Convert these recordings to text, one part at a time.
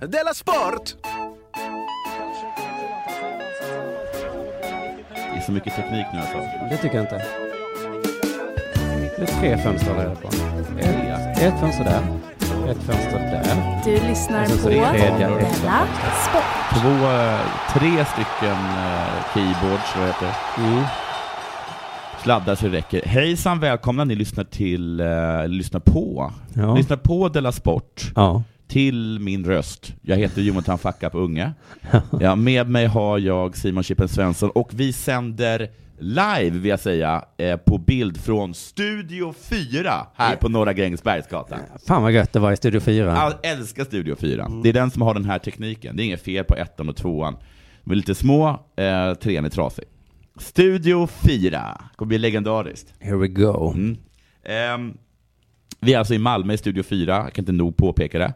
Della Sport! Det är så mycket teknik nu alltså. Det tycker jag inte. Det är tre fönster där på. Ett, ett fönster där, ett fönster där, Du lyssnar Och sen så på är det tredje. Della Sport. Två, eh, tre stycken eh, keyboards, vad heter det? mm. Sladdar så det räcker. Hejsan, välkomna ni lyssnar till, eh, lyssnar på, Ja. lyssnar på Della Sport ja. till min röst. Jag heter Jonathan Facka på Unge. Ja, med mig har jag Simon Chippen Svensson och vi sänder live, vill jag säga, eh, på bild från Studio 4 här på Norra Grängesbergsgatan. Fan vad gött det var i Studio 4. Jag älskar Studio 4. Det är den som har den här tekniken. Det är inget fel på ettan och tvåan. De är lite små, eh, trean är trasig. Studio 4. kommer bli legendariskt. Here we go. Mm. Ehm, vi är alltså i Malmö i Studio 4, jag kan inte nog påpeka det.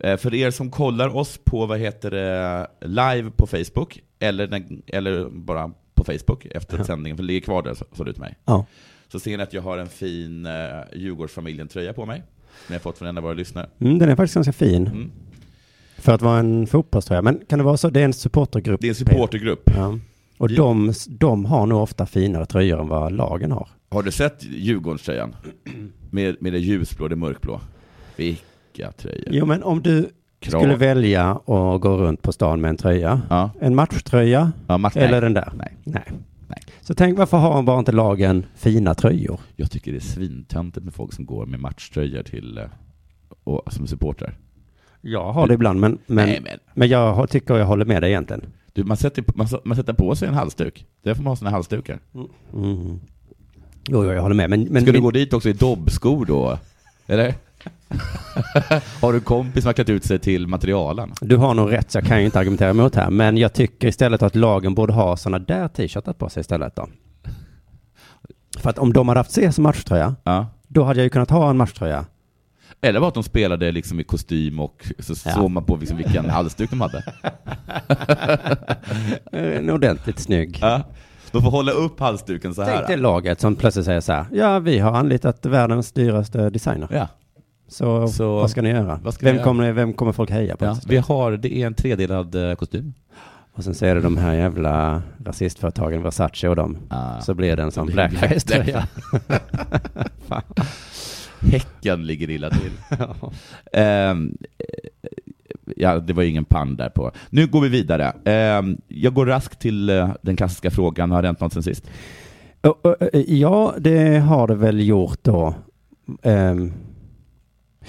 Eh, för er som kollar oss på, vad heter det, live på Facebook, eller, den, eller bara på Facebook efter sändningen, för det ligger kvar där, så- sa du till mig. Ja. Så ser ni att jag har en fin eh, Djurgårdsfamiljen-tröja på mig, som jag fått från en av våra lyssnare. Mm, den är faktiskt ganska fin. Mm. För att vara en fotbollströja. Men kan det vara så? Det är en supportergrupp. Det är en supportergrupp. Ja. Och de, de har nog ofta finare tröjor än vad lagen har. Har du sett Djurgårdströjan? Med, med det ljusblå och det mörkblå. Vilka tröjor. Jo, men om du Krav. skulle välja att gå runt på stan med en tröja. Ja, En matchtröja ja Martin. eller den där. Nej. Nej. Nej. Så tänk, varför har bara inte lagen fina tröjor? Jag tycker det är svintöntigt med folk som går med matchtröjor till, eh, och, som supportrar. Jag har det ibland, men, men, Nej, men. men jag har- tycker jag håller med dig egentligen. du, man, sätter, man, s- man sätter på sig en halsduk. Där får man ha sina halsdukar. Mm. Jo, jo, jag håller med. Men, men Ska du min- gå dit också i dobbskor då? Eller? Har du en kompis som har klätt ut sig till materialen? du har nog rätt, så jag kan ju inte argumentera emot här. Men jag tycker istället att lagen borde ha sådana där t-shirtar på sig istället då. För att om de hade haft C som matchtröja, Ja. då hade jag ju kunnat ha en matchtröja. Eller bara att de spelade liksom i kostym och så Ja. såg man på liksom vilken halsduk de hade. Eh, En ordentligt snygg. Ja. De får hålla upp halsduken så Tänk det här. laget som plötsligt säger så här, ja vi har anlitat världens dyraste designer. Ja. Så, Så- vad ska ni göra? vad ska vem, ni kommer, vem kommer folk heja på? Alltså, Ja. Vi har, det är en tredelad eh, kostym. Och sen så är det de här jävla rasistföretagen, Versace och dem. Ah. Så blir det en sån blir det blackface-tröja. Häcken ligger illa till. Ehm, eh, ja, det var ju ingen pann där på. Nu går vi vidare. Ehm, jag går raskt till eh, den klassiska frågan, har det hänt något sen sist? Och, och, och, Ja, det har det väl gjort då. Ehm,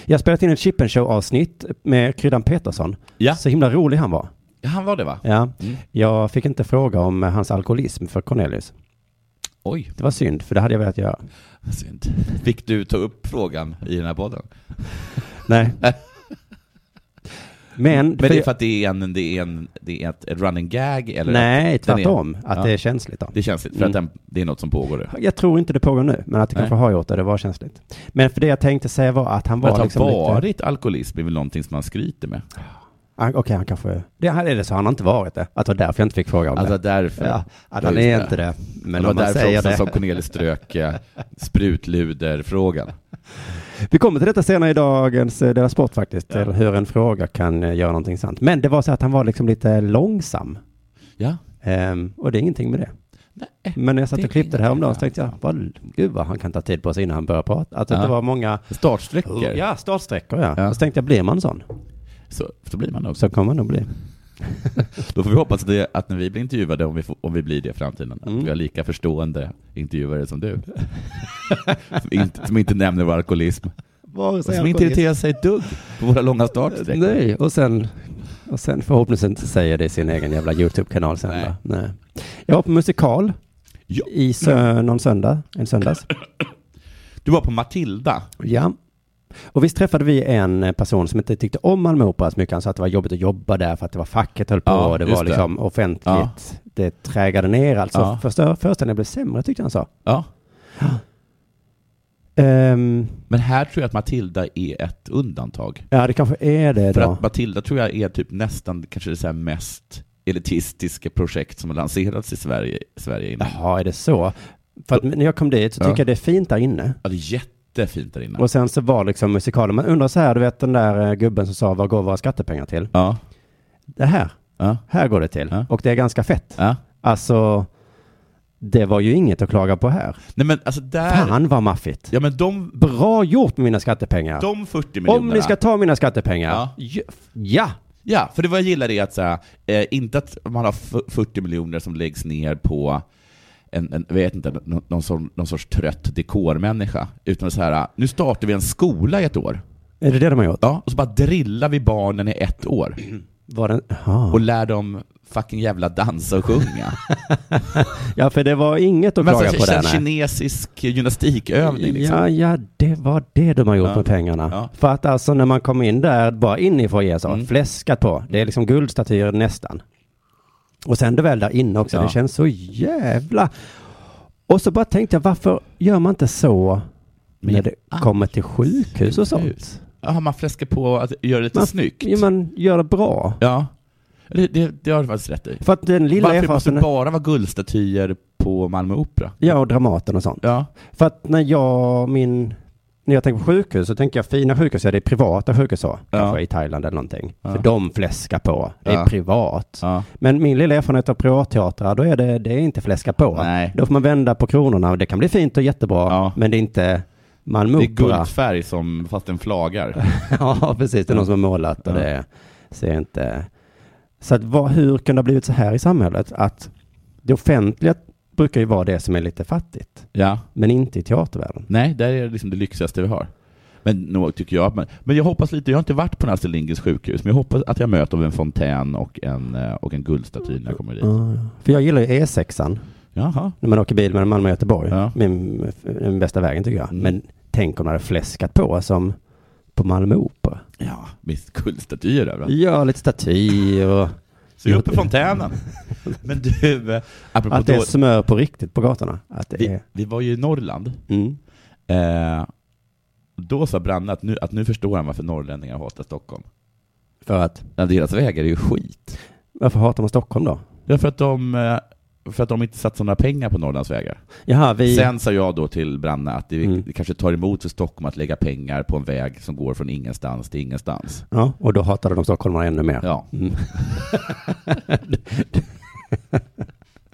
jag har spelat in ett Chippen Show-avsnitt med Kryddan Peterson. Ja. Så himla rolig han var. Han var det va? Ja. Mm. Jag fick inte fråga om eh, hans alkoholism för Cornelius. Oj, Det var synd, för det hade jag velat göra. vad synd. Fick du ta upp frågan i den här podden? Nej. Men, Men det är för att det är, en, det är, en, det är ett, ett running gag? Eller nej, den är- tvärtom. Att Ja. det är känsligt då. Det känns för Mm. att den, det är något som pågår. nu. Jag tror inte det pågår nu, men att det Nej. kanske har gjort det. Det var känsligt. Men för det jag tänkte säga var att han var Men att ha liksom varit lite... alkoholism är väl någonting som man skryter med? Han, Okej, han kanske... Det här är det så, han har inte varit det. Att det var därför jag inte fick fråga om Alltså det. därför. Ja, att han just är inte det. det Men var om man därför säger också det. som Cornelis strök eh, sprutluder-frågan. Vi kommer till detta senare i dagens eh, Dela Sport faktiskt. Till hur en fråga kan eh, göra någonting sant. Men det var så att han var liksom lite långsam. Ja. Ehm, och det är ingenting med det. Nej. Men när jag satt Det och klippte det här om dagen så är tänkte jag, vad, gud vad han kan ta tid på sig innan han börjar prata. Alltså Ja. det var många... Startsträckor. Ja, startsträckor ja. Ja. Och så tänkte jag, blir man sån? Så, så blir man också. Så kommer man nog bli. Då får vi hoppas att, det, att när vi blir intervjuade, om vi, får, om vi blir det i framtiden, Mm. att vi har lika förstående intervjuare som du. som, inte, som inte nämner vår alkoholism. Vare Och som inte irriterar sig ett dugg på våra långa startsträckor. Nej, och sen, och sen förhoppningsvis inte säger det i sin egen jävla YouTube-kanal sen. Nej. Nej. Nej. Jag var på musikal Ja. i sö- någon söndag, en söndags. Du var på Matilda. Ja. Och visst träffade vi en eh, person som inte tyckte om Malmö Opera så mycket. Han sa att det var jobbigt att jobba där för att det var facket höll på Ja, och det just var det. liksom offentligt. Ja. Det trägade ner alltså. Ja. Första föreställningen blev sämre tyckte han sa. Ja. Ehm, Men här tror jag att Matilda är ett undantag. ja, det kanske är det För då. att Matilda tror jag är typ nästan kanske det så här mest elitistiska projekt som har lanserats i Sverige, Sverige innan. Jaha, är det så? För att när jag kom dit så tycker Ja. jag det är fint där inne. Ja, det är jätte lite fint där inne. Och sen så var liksom musikalen, man undrar så här, du vet den där eh, gubben som sa vad går våra skattepengar till? Ja, Det här, ja, här går det till. Ja. Och det är ganska fett. ja. Alltså, det var ju inget att klaga på här. Nej men alltså där... Fan vad maffigt. Ja men de, Bra gjort med mina skattepengar. de 40 miljonerna. Om ni ska ta mina skattepengar. Ja. Ja. ja. Ja, för det vad jag gillar är att så här, eh, inte att man har f- 40 miljoner som läggs ner på en, en jag vet inte, någon, någon, sorts, någon sorts trött dekormänniska, utan så här, nu startar vi en skola i ett år. Är det det de har gjort? Ja, och så bara drillar vi barnen i ett år Var den... Jaha. och lär dem fucking jävla dansa och sjunga. Ja, för det var inget att Men klaga alltså, på k- där. nej. kinesisk gymnastikövning liksom. Ja, ja, det var det de har gjort Ja. med pengarna. Ja. För att alltså när man kom in där, bara in i foajén så, Mm. fläskat på. Det är liksom guldstatyer nästan. Och sen det väl där inne också, Ja. det känns så jävla... Och så bara tänkte jag, varför gör man inte så Men- när det Ah, kommer till sjukhus och sjukhus. sånt? Ja, man fläskar på att göra det lite Man- snyggt. Ja, man gör det bra. Ja, det, det, det har du faktiskt rätt i. För att den lilla Varför måste det erfarenheten... bara vara guldstatyer på Malmö Opera? Ja, och Dramaten och sånt. Ja. För att när jag, min, när jag tänker på sjukhus så tänker jag fina sjukhus, ja det är privata sjukhus så, kanske i Thailand eller någonting. Ja. För de fläskar på, det är Ja. privat. ja. Men min lilla erfarenhet av privatteatrar, då är det, det är inte fläska på. Nej. Då får man vända på kronorna, det kan bli fint och jättebra, Ja. men det är inte Malmö Det är Opera. guldfärg som, fast den flagar. ja, precis, det är någon som har målat och Ja. det ser inte... Så att vad, hur kunde det ha blivit så här i samhället? Att det offentliga brukar ju vara det som är lite fattigt, Ja. men inte i teatervärlden. Nej, där är det liksom det lyxigaste vi har. Men nog tycker jag. Men, men jag hoppas lite, jag har inte varit på den här Astrid Lindgrens sjukhus, men jag hoppas att jag möter av en fontän och en, eh, och en guldstaty när jag kommer dit. Ja, ja. För jag gillar ju E6an, Jaha. när man åker bil mellan Malmö och Göteborg. Ja. Min, den bästa vägen tycker jag. Mm. Men tänk om det hade fläskat på som på Malmö Opera. Ja, visst guldstatyer överallt. Ja, lite staty och Så jag är uppe i fontänen. Men du, eh, apropå att det är då, smör på riktigt på gatorna. Att det vi, är... vi var ju i Norrland. Mm. Eh, då sa Branne att nu, att nu förstår han varför norrlänningar hatar Stockholm. För att, Ja, Deras vägar är ju skit. varför hatar man Stockholm då? Ja, för att de, eh, för att de inte satsar några pengar på Norrlands vägar. Jaha, vi... Sen sa jag då till Branne att det, Mm. det kanske tar emot för Stockholm att lägga pengar på en väg som går från ingenstans till ingenstans. Ja, och då hatade de stockholmarna ännu mer. Ja. Mm.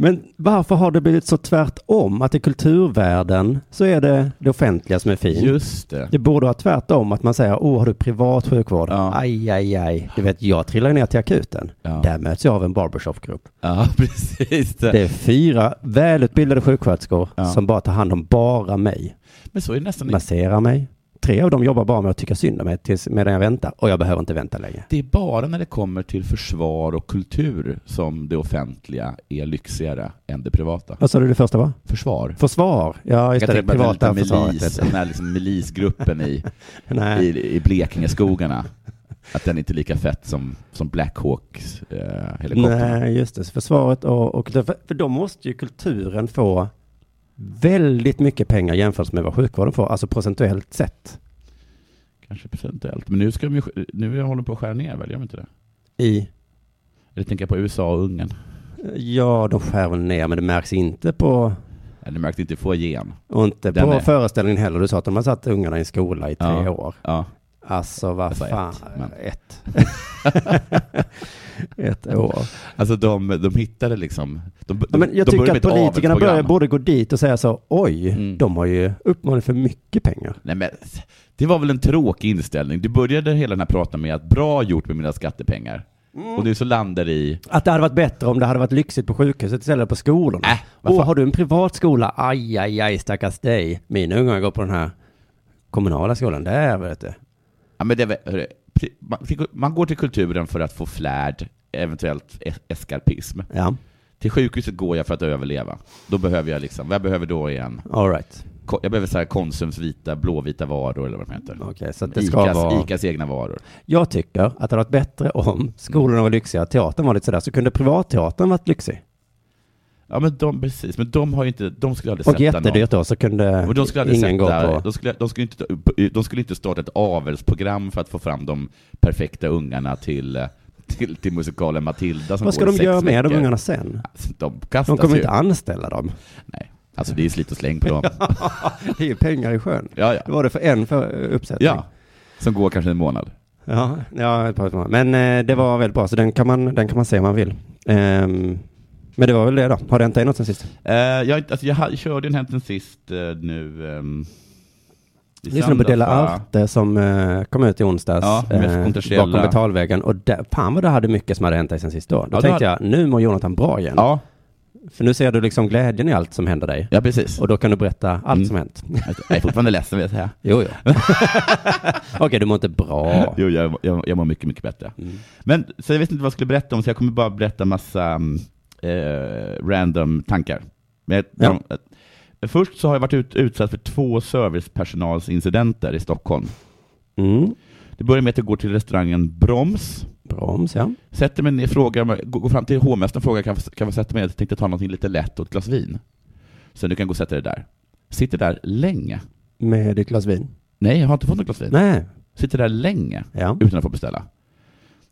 Men varför har det blivit så tvärtom? Att i kulturvärlden så är det det offentliga som är fint. Just det. Det borde vara tvärtom, att man säger åh, har du privat sjukvård? Ja. Aj, aj, aj. Du vet, jag trillar ju ner till akuten. Ja, Där möts jag av en barbershopgrupp. ja precis. Det är fyra välutbildade sjuksköterskor Ja. Mm. som bara tar hand om bara mig. Men så är det nästan inte. Masserar mig. Tre av dem jobbar bara med att tycka synd om mig tills, medan jag väntar. Och jag behöver inte vänta längre. Det är bara när det kommer till försvar och kultur som det offentliga är lyxigare än det privata. Vad sa du det första var? Försvar. Försvar? Ja, just det. det privata försvaret. milis, vet den här liksom milisgruppen i, du. Nej. i, i Blekingeskogarna. Att den inte är lika fett som, som Black Hawks eh, helikopter. Nej, just det. Så Försvaret och, och för, för då måste ju kulturen få väldigt mycket pengar jämfört med vad sjukvården får, alltså procentuellt sett Kanske procentuellt. Men nu, ska de ju, sk- nu håller de på att skära ner, väl? Gör de inte det? i Eller tänker jag på USA och Ungern? Ja, de skär väl ner, men det märks inte på Ja, det märkte inte få igen. och inte Den på är- föreställningen heller. Du sa att de har satt ungarna i en skola i tre Ja. år. Ja. Alltså vad Jag sa fan. ett, men- Ett. ett år. Alltså de, de hittade liksom... De, de, Ja, men jag de tycker började att med ett politikerna avelsprogram. börjar, borde gå dit och säga så, oj, Mm. de har ju uppmanat för mycket pengar. Nej, men, det var väl en tråkig inställning. Du började hela den här praten med att bra gjort med mina skattepengar. Och nu så landar det i... Att det hade varit bättre om det hade varit lyxigt på sjukhuset istället för på skolorna. Äh, vad Åh, fan. har du en privat skola? Aj, aj, aj, stackars dig. Mina ungar går på den här kommunala skolan. Där, vet du. Ja, men det, är väl- hörru, pri- man, fick- man går till kulturen för att få flärd, eventuellt es- eskapism. Ja, Till sjukhuset går jag för att överleva. Då behöver jag liksom, vad jag behöver då igen? all right. Ko- Jag behöver så här Konsums vita, blåvita varor eller vad de heter. Okej, så att det ska Icas, vara... Icas egna varor. Jag tycker att det hade varit bättre om skolorna var lyxiga, teatern var lite sådär, så kunde privatteatern varit lyxig. Ja men de, precis, men de har ju inte, de skulle aldrig Och sätta jättedyrt då, så kunde någon. Och de skulle aldrig ingen sätta, gå på. de, skulle, de, skulle inte, de skulle inte starta ett avelsprogram för att få fram de perfekta ungarna till, till, till musikalen Matilda som Vad ska går de sex göra med de veckor. Alltså, ungarna sen? De kastas De kommer ju. inte anställa dem. Nej. Alltså det är slit och släng på dem. Det är ju pengar i sjön. Ja, ja. Det var det för en för eh, uppsättning. ja. Som går kanske en månad. Ja, ja ett par timmar. men eh, det var väldigt bra, så den kan man, den kan man se om man vill. Ehm, men det var väl det då. Har det hänt dig något sen sist? Eh, jag, har inte- alltså, jag ha- körde den här sen sist eh, nu ehm, i Lyssnade på söndags, Dela va? Arte som eh, kom ut i onsdags. Ja, med eh, kontroversiella- bakom betalväggen. Och där, fan vad det hade mycket som hade hänt dig sen sist då. Då Ja, det tänkte jag, nu mår Jonathan bra igen. Ja, För nu ser du liksom glädjen i allt som händer dig. ja precis. Och då kan du berätta allt Mm. som hänt. Jag är fortfarande ledsen vill jag säga. Jo, jo. Okej, du mår inte bra. Jo, jag, jag, jag mår mycket, mycket bättre. Mm. Men, så jag vet inte vad jag skulle berätta om, så jag kommer bara berätta massa mm, eh, random tankar. Men jag, Ja. de- eh, först så har jag varit ut, utsatt för två servicepersonalsincidenter i Stockholm. Mm. Det börjar med att jag går till restaurangen Broms, Broms, ja. sätter mig ner, frågar, om jag- går går fram till hovmästaren och frågar kan jag få- kan jag få sätta mig ner, jag tänkte ta någonting lite lätt och ett glas vin. Så du kan gå och sätta dig där. Sitter där länge. Med ett glas vin. Nej, jag har inte fått något glas vin. Nej, Sitter där länge. ja. utan att få beställa.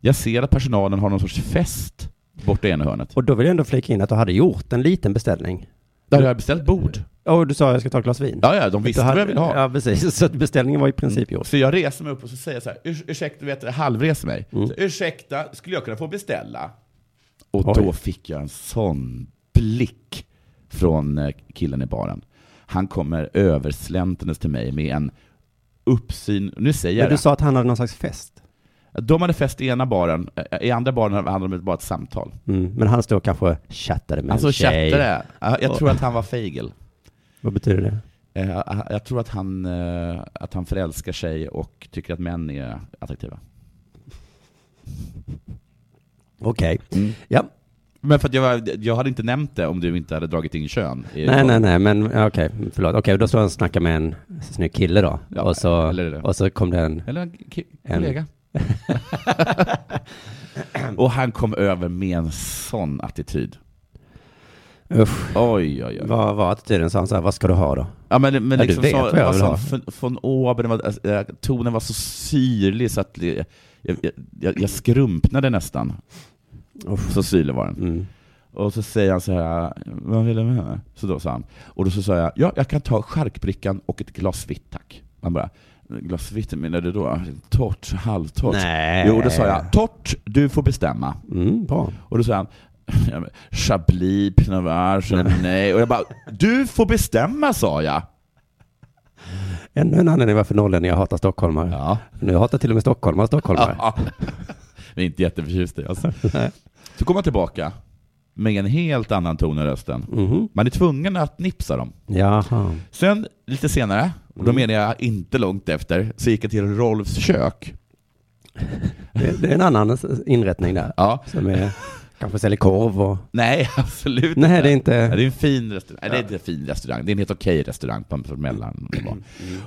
Jag ser att personalen har någon sorts fest borta i ena hörnet. Och då vill jag ändå flika in att du hade gjort en liten beställning. Där har jag beställt bord. Och du sa jag ska ta ett glas vin. Ja, ja, de visste Du vad hade- jag ville ha. Ja, precis. Så att beställningen var i princip gjord. Så jag reser mig upp och så säger jag så här, "Urs- ursäkta, vet du, halvreser mig. Mm. Så, ursäkta, skulle jag kunna få beställa? Och Oj. då fick jag en sån blick från eh, killen i baren. Han kommer översläntandes till mig med en uppsyn, nu säger Men jag du det. sa att han hade någon slags fest. De hade fest i ena baren, Eh, i andra baren hade de bara ett samtal. Mm. Men han står kanske och chattade med Han så en tjej. chattade. Ja, Jag Och- tror att han var fegel. Vad betyder det? Eh, jag- Jag tror att han, eh, att han förälskar sig och tycker att män är attraktiva. Okej. Ja. Men för att jag, var, jag hade inte nämnt det om du inte hade dragit in kön. i- Nej, nej, nej, men ja, okej, förlåt. Okej, då står han och snackar med en snygg kille då. Ja, och, så, eller det. och så kom det en... Eller en ki- En- kollega. och han kom över med en sån attityd. Usch, Oj, oj, oj. vad var attityden? Sa han så här, vad ska du ha då? Ja, men, men Ja, du liksom vet så, vad jag var vill sån ha. von- von oben, var, alltså, eh, tonen var så syrlig så att jag, jag, jag, jag skrumpnade nästan. Usch. Så syrlig var den. Mm. Och så säger han så här, vad vill du med? Så då sa han, och då så sa jag, ja jag kan ta charkbrickan och ett glas vitt tack. Han bara, glas vitt menar du då? Torrt, halvtorrt? Nej. Jo, då sa jag, torrt, du får bestämma. Mm, bra. Och då sa han, ja, men, Chablis, Pinot Noir, Chardonnay. Och jag bara, du får bestämma sa jag. Ännu en anledning varför norrlänningar hatar stockholmare. Ja. Nu hatar till och med stockholmare stockholmare. Vi är inte jätteförtjusta i oss. Så kom han tillbaka med en helt annan ton i rösten. Mhm. Man är tvungen att nipsa dem. Jaha. Sen lite senare, och då Mm. menar jag inte långt efter, så gick jag till Rolfs kök. Det, det är en annan inrättning där. Ja. Som är, kanske säljer korv och... Nej, absolut Nej, inte. det är Ja, inte... det är en fin restaurang. Nej, det är inte en fin restaurang. Det är en helt okej restaurang på på mellan. Mm.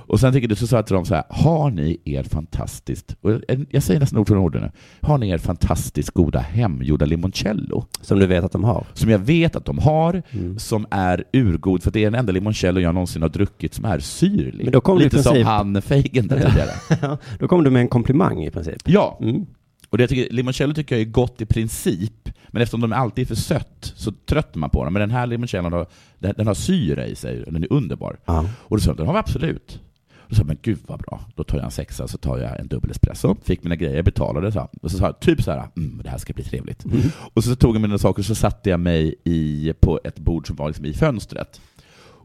Och sen tycker du, så sa jag till dem så här, har ni er fantastiskt, och jag- jag säger nästan ord för ord nu, har ni er fantastiskt goda hemgjorda limoncello? Som du vet att de har. Som jag vet att de har, Mm. som är urgod, för det är den enda limoncello jag någonsin har druckit som är syrlig. Men då kommer det i Lite som princip- han fejgen där tidigare. Då kom du med en komplimang i princip. Ja, Mm. Och det jag tycker, limoncello tycker jag är gott i princip, men eftersom de alltid är för sött så tröttnar man på dem. Men den här limoncellon har, den, den har syra i sig, och den är underbar. Ja. Och då sa jag, den har vi absolut. Då sa jag, men gud vad bra. Då tar jag en sexa, så tar jag en dubbel espresso, fick mina grejer, betalade, så. och så sa jag typ så här, mm, det här ska bli trevligt. Och så tog jag mina saker, så satte jag mig i, på ett bord som var liksom i fönstret.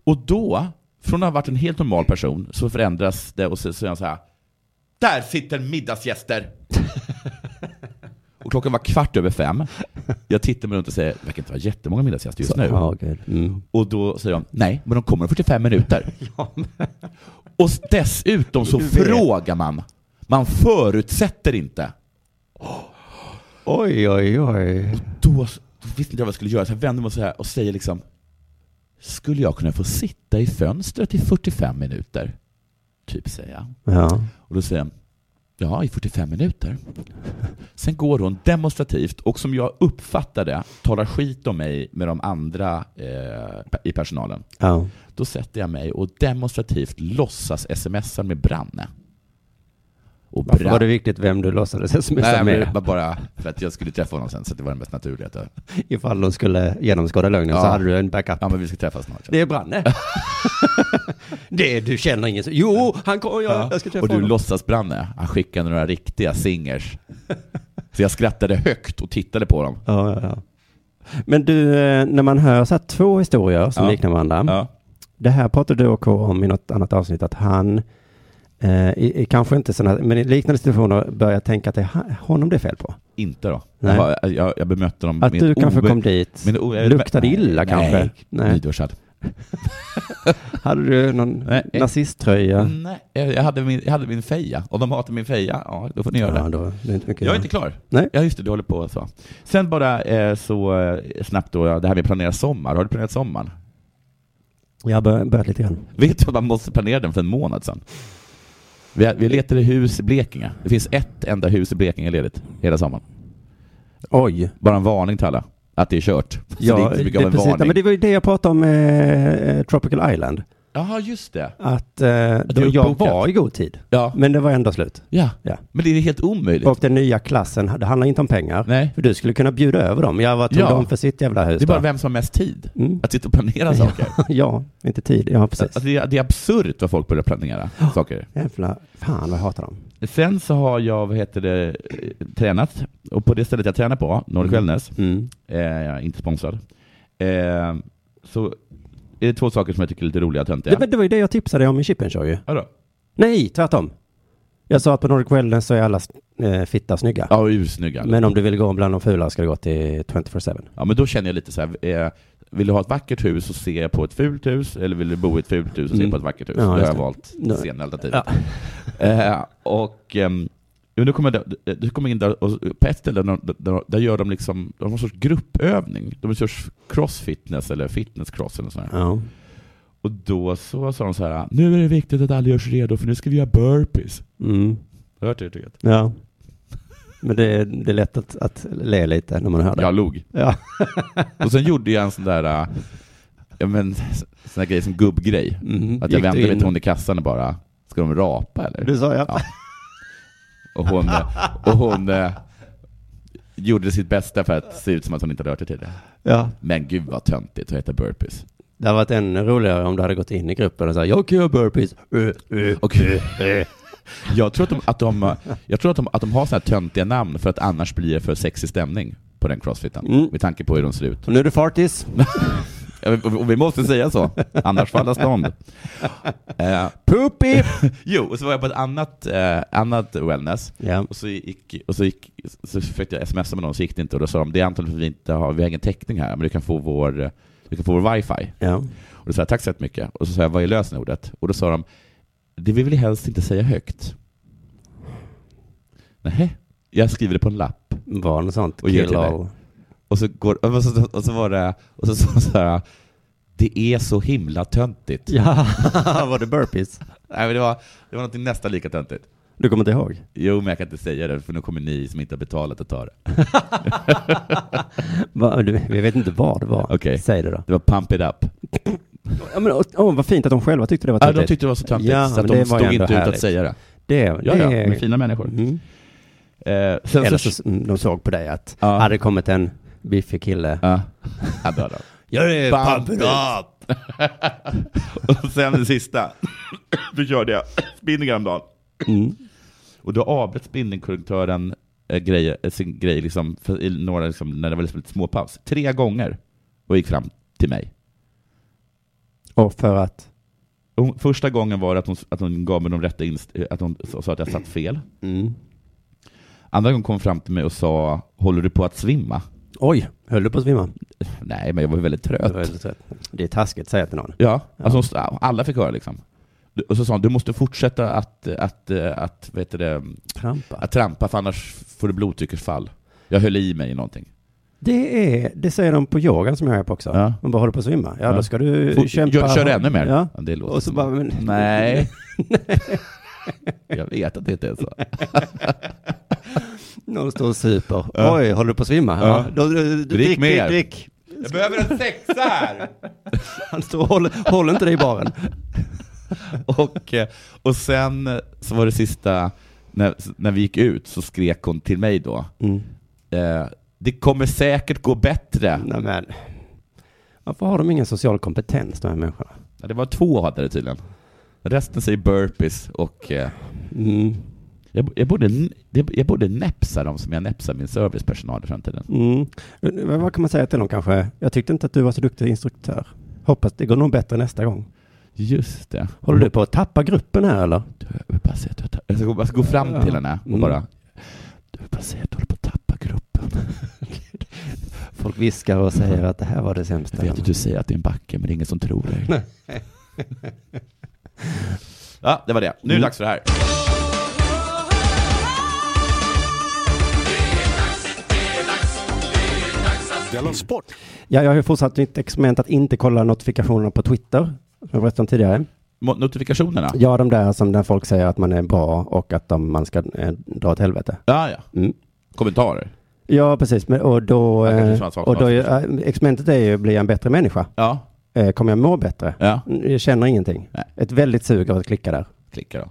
Och då, från att ha varit en helt normal person, så förändras det och så så är jag så här, där sitter middagsgäster! och klockan var kvart över fem. Jag tittar mig runt och säger, det verkar inte vara jättemånga middagsgäster just nu. Ja, gud. Mm. Och då säger de, nej, men de kommer om 45 minuter. Och dessutom så Du vet. frågar man. Man förutsätter inte. Oj, oj, oj. Då, då visste inte jag vad jag skulle göra, så jag vänder mig så här och säger liksom, skulle jag kunna få sitta i fönstret i 45 minuter? Typ säger jag. Ja. Och då säger han, ja, i 45 minuter. Sen går hon demonstrativt och som jag uppfattar det talar skit om mig med de andra eh, i personalen. ja. Då sätter jag mig och demonstrativt låtsas smsar med Branne. och Varför bra. var det viktigt vem du låtsades smsa Nej, men det med? var bara för att jag skulle träffa honom sen, så det var det mest naturliga. att- Ifall de skulle genomskåda lögnen så Ja. hade du en backup. Ja, men vi ska träffas snart. Det är Branne. det, du känner ingen så. Jo, han kom, jag, jag ska träffa och du honom. låtsas Branne, han skickade några riktiga singers. Så jag skrattade högt och tittade på dem. Ja, ja, ja. Men du, eh, när man hör så här två historier som Ja. liknar varandra. Ja. Det här pratade du och K om i något annat avsnitt, att han, eh, i, i, kanske inte sådana, men i liknande situationer börjar tänka att det är han- honom det är fel på. Inte då. Nej. Jag, var- jag, jag bemötte dem Att med du ett kanske obe- kom dit, med ett o- jag- luktade illa nej, kanske? Nej, Nej. nyduschad. Hade du någon Nej. Mm, nazisttröja? Nej, jag jag hade, min, jag hade min feja. Om de hatar min feja, ja då får ni göra det. Ja, då, det är inte mycket. Jag är inte klar. eh, Nej. Ja just det, du håller på så. Sen bara eh, så eh, snabbt då, ja, det här med att planera sommar. Har du planerat sommaren? Jag har bör- börjat lite grann. Vet du att man måste planera den för en månad sedan? Vi, vi letade hus i Blekinge. Det finns ett enda hus i Blekinge ledigt hela sommaren. Oj. Bara en varning till alla, att det är kört. Så det är inte så mycket av en precis, varning. ja, men det var ju det jag pratade om eh, eh, Tropical Island. Jaha, just det. Att, eh, då, det är jag uppbokat. var i god tid, Ja. men det var ändå slut. ja. Ja. Men det är helt omöjligt. Och den nya klassen, det handlar inte om pengar. Nej. För du skulle kunna bjuda över dem. Jag var tog Ja. dem för sitt jävla hus. Det är bara då. vem som har mest tid. Mm. Att sitta och planera saker. Ja, inte tid. Ja, precis. Alltså, det, är, det är absurt vad folk börjar planera saker. Jävla, fan vad jag hatar dem. Sen så har jag, vad heter det, eh, tränat. Och på det stället jag tränar på, Nordic Wellness, Mm. eh, jag är inte sponsrad, eh, så är det två saker som jag tycker är lite roliga och Det, töntiga. men det var ju det jag tipsade om i Chippen Show ju. Vadå? Nej, tvärtom. Jag sa att på Nordic Wellness så är alla eh, fitta snygga. Ja, och ursnygga. Men om du vill gå bland de fula ska du gå till 24-7. Ja, men då känner jag lite så här, eh, vill du ha ett vackert hus så ser jag på ett fult hus, eller vill du bo i ett fult hus och se Mm. på ett vackert hus? Ja, då har just jag det. valt Ja. det senare alternativet. Ja. Eh, och ehm, jo, nu kommer det, det kommer in där, och på ett ställe där, där, där gör de liksom, de har någon sorts gruppövning. De kör crossfitness eller fitnesscross eller sådär. Ja. Och då så sa de så här, nu är det viktigt att alla gör sig redo för nu ska vi göra burpees. Mm. Har du hört det uttrycket? ja. Men det, det är lätt att, att le lite när man hör det. Jag log. Ja. Och sen gjorde jag en sån där, eh, ja men sån där grej som gubbgrej. Mm. Att jag Gick du vände mig in? till hon i kassan och bara, ska de rapa eller? Du sa ja. Ja. Och hon, eh, och hon eh, gjorde sitt bästa för att se ut som att hon inte hade hört det tidigare. ja. Men gud vad töntigt att heta burpees. Det hade varit ännu roligare om du hade gått in i gruppen och sagt jag kan göra burpees. Uh, uh. Och, jag tror att de, att de, jag tror att de, att de har sådana här töntiga namn för att annars blir det för sexig stämning på den crossfiten. Mm. Med tanke på hur de ser ut. Och nu är det fartis. Ja, men- Och vi måste säga så, annars faller stånd. Eh, Poopy! jo, och så var jag på ett annat, eh, annat wellness. ja. Och så, gick, och så, gick, så försökte jag smsa med någon så gick det inte och då sa de det är antagligen för att vi inte har, vi har ingen täckning här men du kan få vår, du kan få vår wifi. ja. Och då sa jag tack så mycket och så sa jag vad är lösenordet? Och då sa de det vill vi helst inte säga högt. Nej, jag skriver det på en lapp. Var något sånt. Och ger till dig. all. Och så, går, och så, och så var det, och så sa de så här det är så himla töntigt. Ja, var det burpees? Nej, men det, var, det var något nästan lika töntigt. Du kommer inte ihåg? Jo, men jag kan inte säga det för nu kommer ni som inte har betalat att ta det. Va, du, vi vet inte vad det var. Okej. Säg det då. Det var pump it up. Ja, men, åh, åh, vad fint att de själva tyckte det var Ja, de töntigt. tyckte det var så töntigt Ja, så men att det de var stod ju ändå inte ut härligt. att säga det. det, Ja, det ja, med fina människor. Mm. Eh, sen Eller så... så, mm, de såg på dig att Ja. hade det kommit en biffig kille. Ja. Ja, bra då. Jag är Pump it up! och sen det sista. Då körde jag spinning häromdagen. Mm. Och då avbröt spinningkorrektören eh, grej, eh, sin grej liksom, för, i några, liksom, när det var liksom lite småpaus. Tre gånger. Och gick fram till mig. Och för att? Och Hon, första gången var det att hon, att hon gav mig de rätta inst- eh, att hon sa sa att jag satt fel. Mm. Andra gången kom hon fram till mig och sa, håller du på att svimma? Oj, höll du på att svimma? Nej, men jag var ju väldigt Det, var trött. väldigt trött. det är taskigt att säga till någon. Ja, alltså hon- alla fick höra liksom. Du- Och så sa hon, du måste fortsätta att, att, eh, att, vad heter det, Trampa. att trampa för annars får du blodtrycksfall. Jag höll i mig i någonting. Det, är, det säger de på yogan som jag är på också. Ja. Man bara håller på att svimma. Ja, Ja. då ska du Fort- kämpa. Gör, kör ännu mer. Ja. det låter Och så som- bara, men, Nej. jag vet att det inte är så. Någon står och super. Ja. Oj, håller du på att svimma? Ja. Ja. Då, då, då, drick, drick, mer. drick. Jag behöver en sexa här! Han står och håller, håller inte dig i baren. och, eh, och sen eh, så var det sista, när, när vi gick ut så skrek hon till mig då. Mm. Eh, det kommer säkert gå bättre. Nej, men. Varför har de ingen social kompetens de här människorna? Ja, Det var två hade det tydligen. Resten säger burpees och eh, Mm. jag, jag, borde, jag borde näpsa dem som jag näpsar min servicepersonal i framtiden. Mm. Men vad kan man säga till dem kanske? Jag tyckte inte att du var så duktig instruktör. Hoppas det går nog bättre nästa gång. Just det. Håller du på att tappa gruppen här eller? Jag vill bara säga att jag, tapp- jag, ska gå, jag ska gå fram till henne och Mm. bara Du vill bara säga att du håller på att tappa gruppen. Folk viskar och säger att det här var det sämsta. Jag vet att du säger att det är en backe, men det är ingen som tror dig. ja, det var det. Nu är det Mm. dags för det här. Della Sport! Ja, jag har ju fortsatt mitt experiment att inte kolla notifikationerna på Twitter. Som jag berättade om tidigare. Mo- Notifikationerna? Ja, de där som där folk säger att man är bra och att de, man ska eh, dra åt helvete. Ja, ja. Mm. Kommentarer? Ja, precis. Men, och då, Ja, kanske eh, sådant sak- och då är, eh, experimentet är ju, blir jag en bättre människa? Ja. Eh, Kommer jag må bättre? Ja. Mm, Jag känner ingenting. Nej. Ett väldigt sug av att klicka där. Klicka då.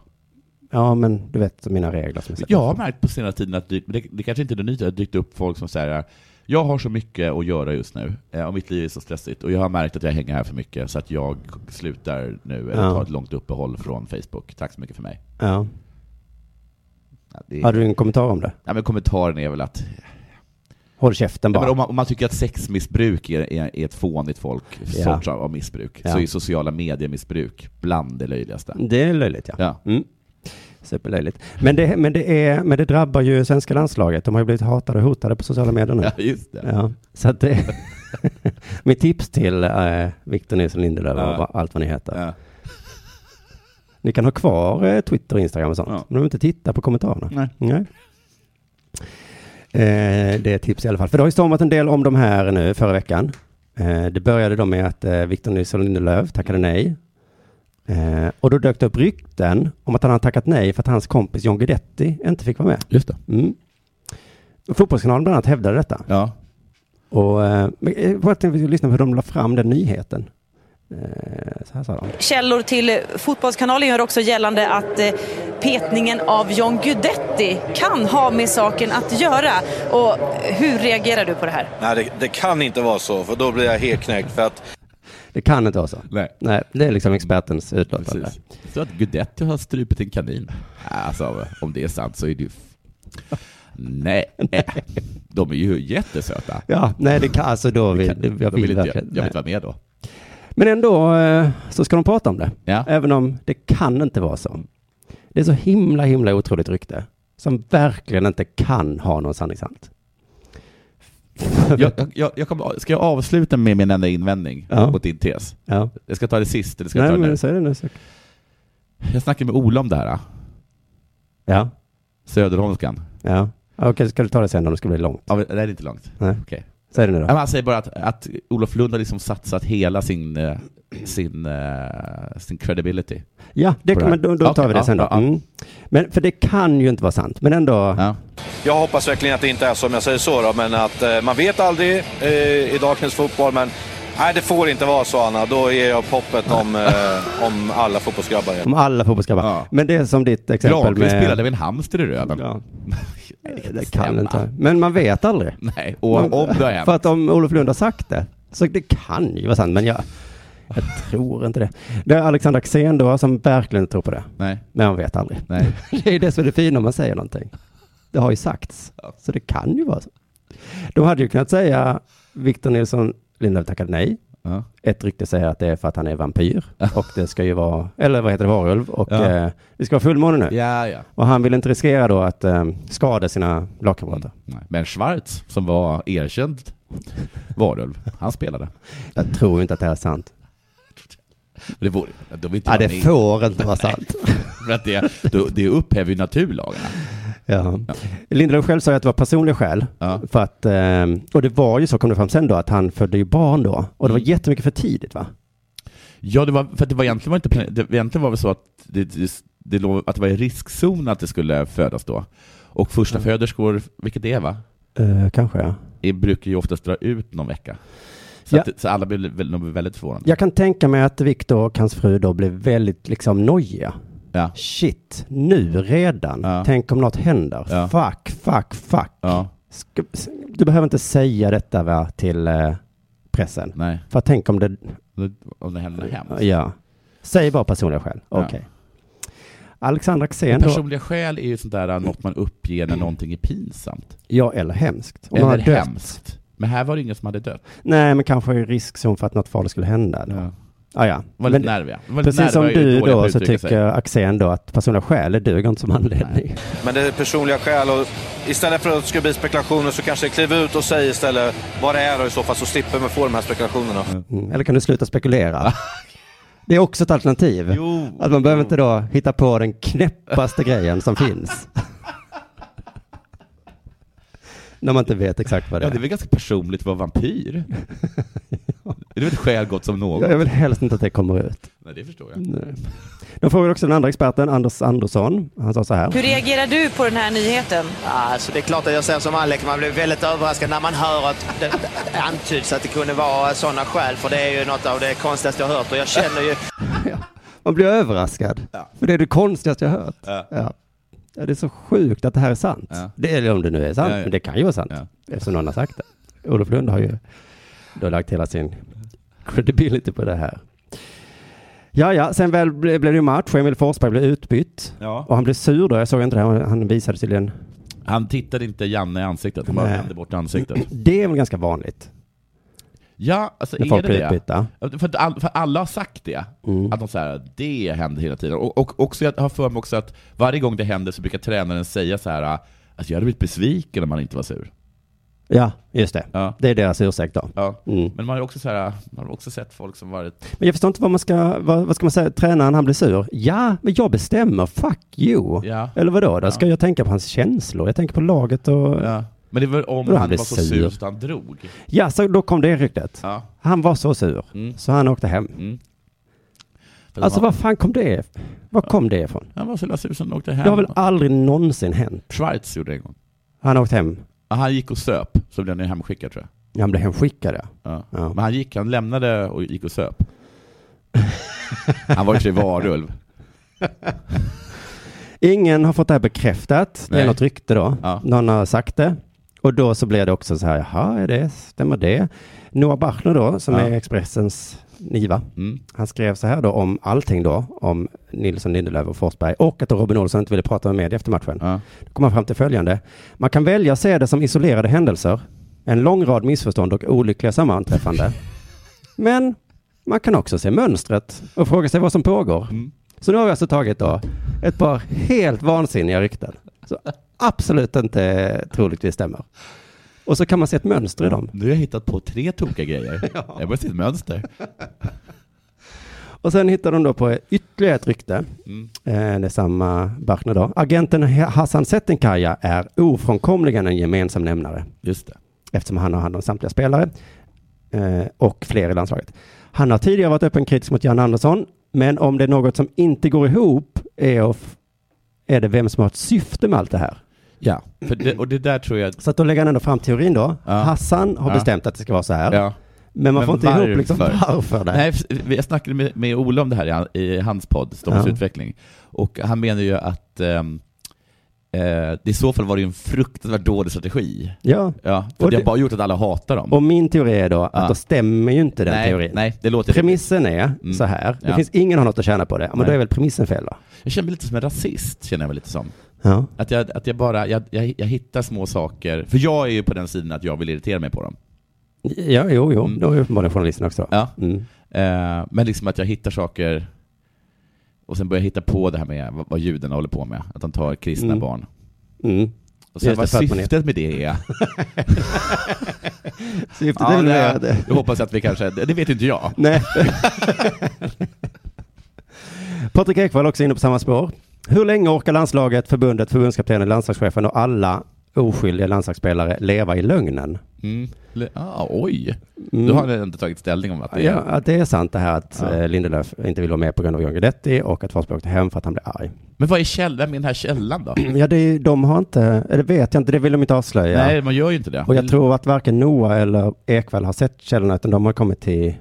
Ja, men du vet mina regler som jag sätter. Jag har märkt på senare tiden att det, det, det kanske inte är det nya, det har dykt upp folk som säger jag har så mycket att göra just nu eh, och mitt liv är så stressigt och jag har märkt att jag hänger här för mycket så att jag slutar nu eller Ja. tar ett långt uppehåll från Facebook. Tack så mycket för mig. Ja. Ja, det, Har du en kommentar om det? ja, men kommentaren är väl att Håll käften ja, men bara. om, man, om man tycker att sexmissbruk är, är, är ett fånigt folk, Ja. sorts av av missbruk, Ja. så är sociala mediemissbruk bland det löjligaste. Det är löjligt, ja. Ja. Mm. Superlöjligt. Men det, men, det är, men det drabbar ju svenska landslaget. De har ju blivit hatade och hotade på sociala medier nu. ja, Ja. just det. Så att det... Mitt tips till eh, Victor Nilsson Lindelöf Ja. och vad- allt vad ni heter. Ja. Ni kan ha kvar eh, Twitter och Instagram och sånt. Ja. Men de vill inte titta på kommentarerna. Nej. Eh, det är ett tips i alla fall. För det har ju stormat en del om de här nu förra veckan. Eh, det började då med att eh, Victor Nilsson Lindelöf tackade nej. Eh, och då dök det upp rykten om att han hade tackat nej för att hans kompis John Guidetti inte fick vara med. Just det. Mm. Fotbollskanalen bland annat hävdade detta. Ja. Och eh, men, eh, jag bara tänkte att vi skulle lyssna på hur de la fram den nyheten. Eh, så här sa de. Källor till eh, Fotbollskanalen gör också gällande att eh, petningen av John Guidetti kan ha med saken att göra. Och eh, hur reagerar du på det här? Nej, det, det kan inte vara så, för då blir jag helt knäckt. För att Det kan inte vara så. Nej. Nej, det är liksom expertens utlåtande. Precis. Så att Guidetti har strupit en kanin. Alltså, om det är sant så är det ju... f- Nej, de är ju jättesöta. Ja, nej det kan, alltså då vill, jag, de vill vill inte, jag, verkligen- jag vill nej. inte vara med då. Men ändå eh, så ska de prata om det. Ja. Även om det kan inte vara så. Det är så himla, himla otroligt rykte. Som verkligen inte kan ha någon sanningshalt. Jag, jag- jag, jag kommer, ska jag avsluta med min enda invändning Ja. mot din tes? Ja. Jag ska ta det sist, eller ska jag Nej, ta det nu? men säg det nu. Så. Jag snackade med Ola om det här, Ja, Söderholmskan. ja. Okej, ska du ta det sen om det ska bli långt. Ja, men det är inte långt. Nej. Okej. Säg det nu Ja, men då. Han säger bara att, att Olof Lund har liksom satsat hela sin, eh, sin, eh, sin credibility. Ja, det, På det här. men då, då tar vi det Okej, sen ja, då. ja, ja. Mm. Men, för det kan ju inte vara sant. Men ändå. Ja. jag hoppas verkligen att det inte är så, om jag säger så. Då, men att eh, man vet aldrig eh, i dagens fotboll. Men nej, det får inte vara så, Anna. Då ger jag upp hoppet om, eh, om alla fotbollsgrabbar. igen. Om alla fotbollsgrabbar. Ja. Men det är som ditt exempel Granqvist med... spelade med en hamster i röven. Ja. Nej, kan Det inte kan stämma. inte. Men man vet aldrig. Nej, och om det har hänt. För att om Olof Lund har sagt det, så det kan ju vara sant, men jag, jag tror inte det. Det är Alexander Axén då, som verkligen tror på det. Nej, Men man vet aldrig. nej. Det är det som är det fina om man säger någonting. Det har ju sagts, så det kan ju vara så. De hade ju kunnat säga Victor Nilsson Lindelöf tackade nej. Ja. Ett rykte säger att det är för att han är vampyr och det ska ju vara, eller vad heter det, varulv och Ja. eh, det ska vara fullmåne nu. Ja, ja. Och han vill inte riskera då att eh, skada sina lagkamrater. Nej. Men Schwarz, som var erkänd varulv, han spelade. Mm. Jag tror ju inte att det här är sant. Det vore, de vill inte Ja, vara det med. får inte vara sant. För att det, då- det upphäver ju naturlagarna. Ja. Lindelöf själv sa ju att det var personliga skäl. Ja. För att, ehm, och det var ju så, kom det fram sen då, att han födde ju barn då. Och det var jättemycket för tidigt va? Ja, det var, för att det var egentligen var inte, plan- det, egentligen var det så att det, det, det, låg, att det var i riskzon att det skulle födas då. Och första föderskor, vilket det är va? Eh, kanske ja. Det brukar ju oftast dra ut någon vecka. Så, Ja. att, så alla blir, väl- de blir väldigt förvånade. Jag kan tänka mig att Viktor och hans fru då blev väldigt liksom nojiga. Ja. Shit, nu redan? Ja. Tänk om något händer? Ja. Fuck, fuck, fuck. Ja, Ska, du behöver inte säga detta va, till eh, pressen. nej. För tänk om det... Om det händer något hemskt. Ja. Säg bara personliga skäl. Ja. Okej. Alexandra Axén då. Personliga skäl är ju sånt där något man uppger när någonting är pinsamt. Ja, eller hemskt. Mm. Om någon Eller har dött. hemskt. Men här var det ingen som hade dött. Nej, men kanske i riskzon för att något farligt skulle hända. Ja, Ja. ah, ja. Var Men lite nerviga. Var lite precis som nerviga är du dåliga på då att så uttrycka tycker Axén då att personliga skäl duger inte som anledning. Men det är personliga skäl och istället för att det ska bli spekulationer så kanske kliv ut och säg istället vad det är och i så fall så slipper man få de här spekulationerna. Mm. Eller kan du sluta spekulera? Det är också ett alternativ. Jo, Att man behöver inte då hitta på den knäppaste grejen som finns. När man inte vet exakt vad det ja, det är är. väl ganska personligt att vara vampyr? Det är väl ett skäl gott som något? Ja, Jag vill helst inte att det kommer ut. Nej, det förstår jag. De frågade också den andra experten, Anders Andersson. Han sa så här. Hur reagerar du på den här nyheten? Alltså, det är klart att jag säger som Alec, man blir väldigt överraskad när man hör att det det antyds att det kunde vara sådana skäl. För det är ju något av det konstigaste jag hört och jag känner ju Man blir överraskad. För det är det konstigaste jag hört. Ja. Ja, det är så sjukt att det här är sant. Ja. Det, eller om det nu är sant, Ja, ja. men det kan ju vara sant. Ja. Eftersom någon har sagt det. Olof Lund har ju då lagt hela sin credibility på det här. Ja, ja, sen väl ble- blev det ju match. Emil Forsberg blev utbytt. Ja. Och han blev sur då. Jag såg inte det. här. Han visade tydligen. Han tittade inte Janne i ansiktet, han bara Nej. vände bort ansiktet. Det är väl ganska vanligt Ja, alltså när är folk det blir det? utbytta. För, att all, för alla har sagt det, att de så här, det händer hela tiden. Och, och också, jag har för mig också att varje gång det händer så brukar tränaren säga så här, alltså jag hade blivit besviken om man inte var sur. Ja, just det. Ja. Det är deras ursäkt då. Ja. Mm. Men man har ju också, så här, man har också sett folk som varit... Men jag förstår inte vad man ska, vad, vad ska man säga, tränaren han blir sur. Ja, men jag bestämmer, fuck you. Ja. Eller vadå, då ska jag tänka på hans känslor, jag tänker på laget och... Ja, Men det var om Då han han var blev så sur. sur så han drog. så då kom det ryktet. Ja. Han var så sur, Mm. så han åkte hem. För Alltså han, vad fan kom det, var kom det ifrån? han var så jävla sur så han åkte Det har hem. väl aldrig någonsin hänt? Schweiz gjorde det en gång. Han åkte hem, Ja, Han gick och söp, så blev han ju hemskickad tror jag. han blev hemskickad ja. Ja. Ja. Men han gick, han lämnade och gick och söp. Han var i och för sig varulv. Ingen har fått det här bekräftat. Det är Nej. något rykte då. Ja. Någon har sagt det. Och då så blir det också så här, jaha, är det, stämmer det? Noah Bachner då, som Ja. är Expressens Niva, Mm. han skrev så här då om allting då, om Nilsson, Lindelöf och Forsberg och att då Robin Olsson inte ville prata med media efter matchen. Ja. Då kom han fram till följande. Man kan välja att se det som isolerade händelser, en lång rad missförstånd och olyckliga sammanträffande. Men man kan också se mönstret och fråga sig vad som pågår. Så nu har vi alltså tagit då ett par helt vansinniga rykten. Så absolut inte troligtvis stämmer. Och så kan man se ett mönster i dem. Nu har jag hittat på tre tokiga grejer. Jag börjar se ett mönster. Och sen hittar de då på ytterligare ett rykte. Eh, det är samma Bachner då. Agenten Hassan Settinkaja är ofrånkomligen en gemensam nämnare. Just det. eftersom han har hand om samtliga spelare eh, och fler i landslaget. Han har tidigare varit öppen kritisk mot Jan Andersson, men om det är något som inte går ihop är, att f- är det vem som har ett syfte med allt det här. Ja, För det, och det där tror jag... Så att då lägger han ändå fram teorin då. Ja. Hassan har Ja. bestämt att det ska vara så här, Ja. men man Men får inte ihop liksom varför? varför det. Nej, för- jag snackade med, med Ola om det här i han- i hans podd, Stockholms Ja. utveckling. Och han menar ju att ehm, eh, i så fall var det ju en fruktansvärt dålig strategi. Ja, Ja, för Och det har det- bara gjort att alla hatar dem. och min teori är då att Ja. då stämmer ju inte den nej, teorin. nej, det låter Premissen är så här, det Ja. finns ingen har något att tjäna på det, men Nej. då är väl premissen fel då? Jag känner mig lite som en rasist, känner jag mig lite som. Ja. Att jag, att jag bara, jag, jag, jag hittar små saker, för jag är ju på den sidan att jag vill irritera mig på dem. Ja, jo, jo, Mm. då är uppenbarligen journalisten också. då. Ja. Mm. Eh, men liksom att jag hittar saker, och sen börjar jag hitta på det här med vad, vad judarna håller på med, att de tar kristna Mm. barn. Mm. Och sen Just det, vad för att man är- syftet med det är, Syftet ja, är väl det, det. jag hoppas att vi kanske, det vet ju inte jag. Nej. Patrik Ekwall också inne på samma spår. Hur länge orkar landslaget, förbundet, förbundskaptenen, landslagschefen och alla oskyldiga landslagsspelare leva i lögnen? Mm. Le- Ah, oj, Mm. du har inte tagit ställning om att det är... Ja, att det är sant det här att Ja. eh, Lindelöf inte vill vara med på grund av John Guidetti och att Forsberg åkte hem för att han blev arg. Men vad är källan med den här källan då? Ja, det är, ju- de har inte, eller vet jag inte, det vill de inte avslöja. Nej, man gör ju inte det. Och jag tror att varken Noah eller Ekwall har sett källorna utan de har kommit till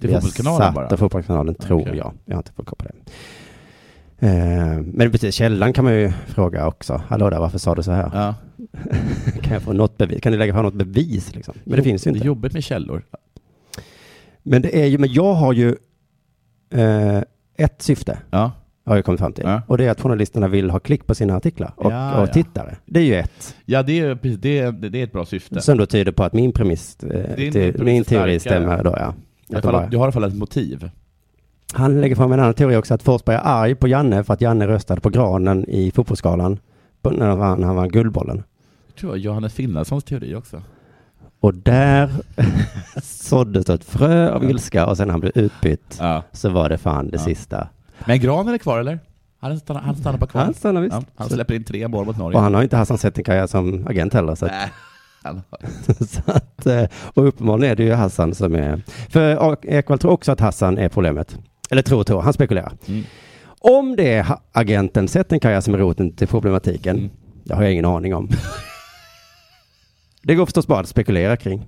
Till via Fotbollskanalen Satt bara? och Fotbollskanalen tror Okej. jag. Jag har inte fått koll på det. Eh, Men precis, källan kan man ju fråga också. Hallå där, varför sa du så här? Ja. Kan jag få något bevis? Kan du lägga fram något bevis liksom? Men det finns ju Det inte. är jobbigt med källor. Men det är ju, men jag har ju eh, ett syfte, Ja. har jag kommit fram till. Ja. Och det är att journalisterna vill ha klick på sina artiklar och, Ja, och ja. tittare. Det är ju ett, Ja, det är, precis, det, är, det är ett bra syfte. som då tyder på att min premiss, eh, Din te, premiss är min teori starkare. stämmer då ja. I alla Att de bara, fall, du har i alla fall ett motiv. Han lägger fram en annan teori också, att Forsberg är arg på Janne för att Janne röstade på granen i fotbollsskalan på- när han vann, han vann Guldbollen. Jag tror jag Johannes Finnladssons teori också. Och där såddes då ett frö av ilska och sen när han blev utbytt Ja. så var det fan det Ja. sista. Men Granen är kvar eller? Han stannar, han stannar bara kvar. Han stannar visst. Ja, han släpper in tre mål mot Norge. Och han har ju inte Hassan sett en karriär som agent heller. Så att, Nej. Han har- så att, eh, och uppenbarligen är det ju Hassan som är... För A- Ekwall tror också att Hassan är problemet. Eller tror och tror, han spekulerar. Mm. Om det är ha- agenten sett en karriär som är roten till problematiken, Mm. det har jag ingen aning om. det går förstås bara att spekulera kring.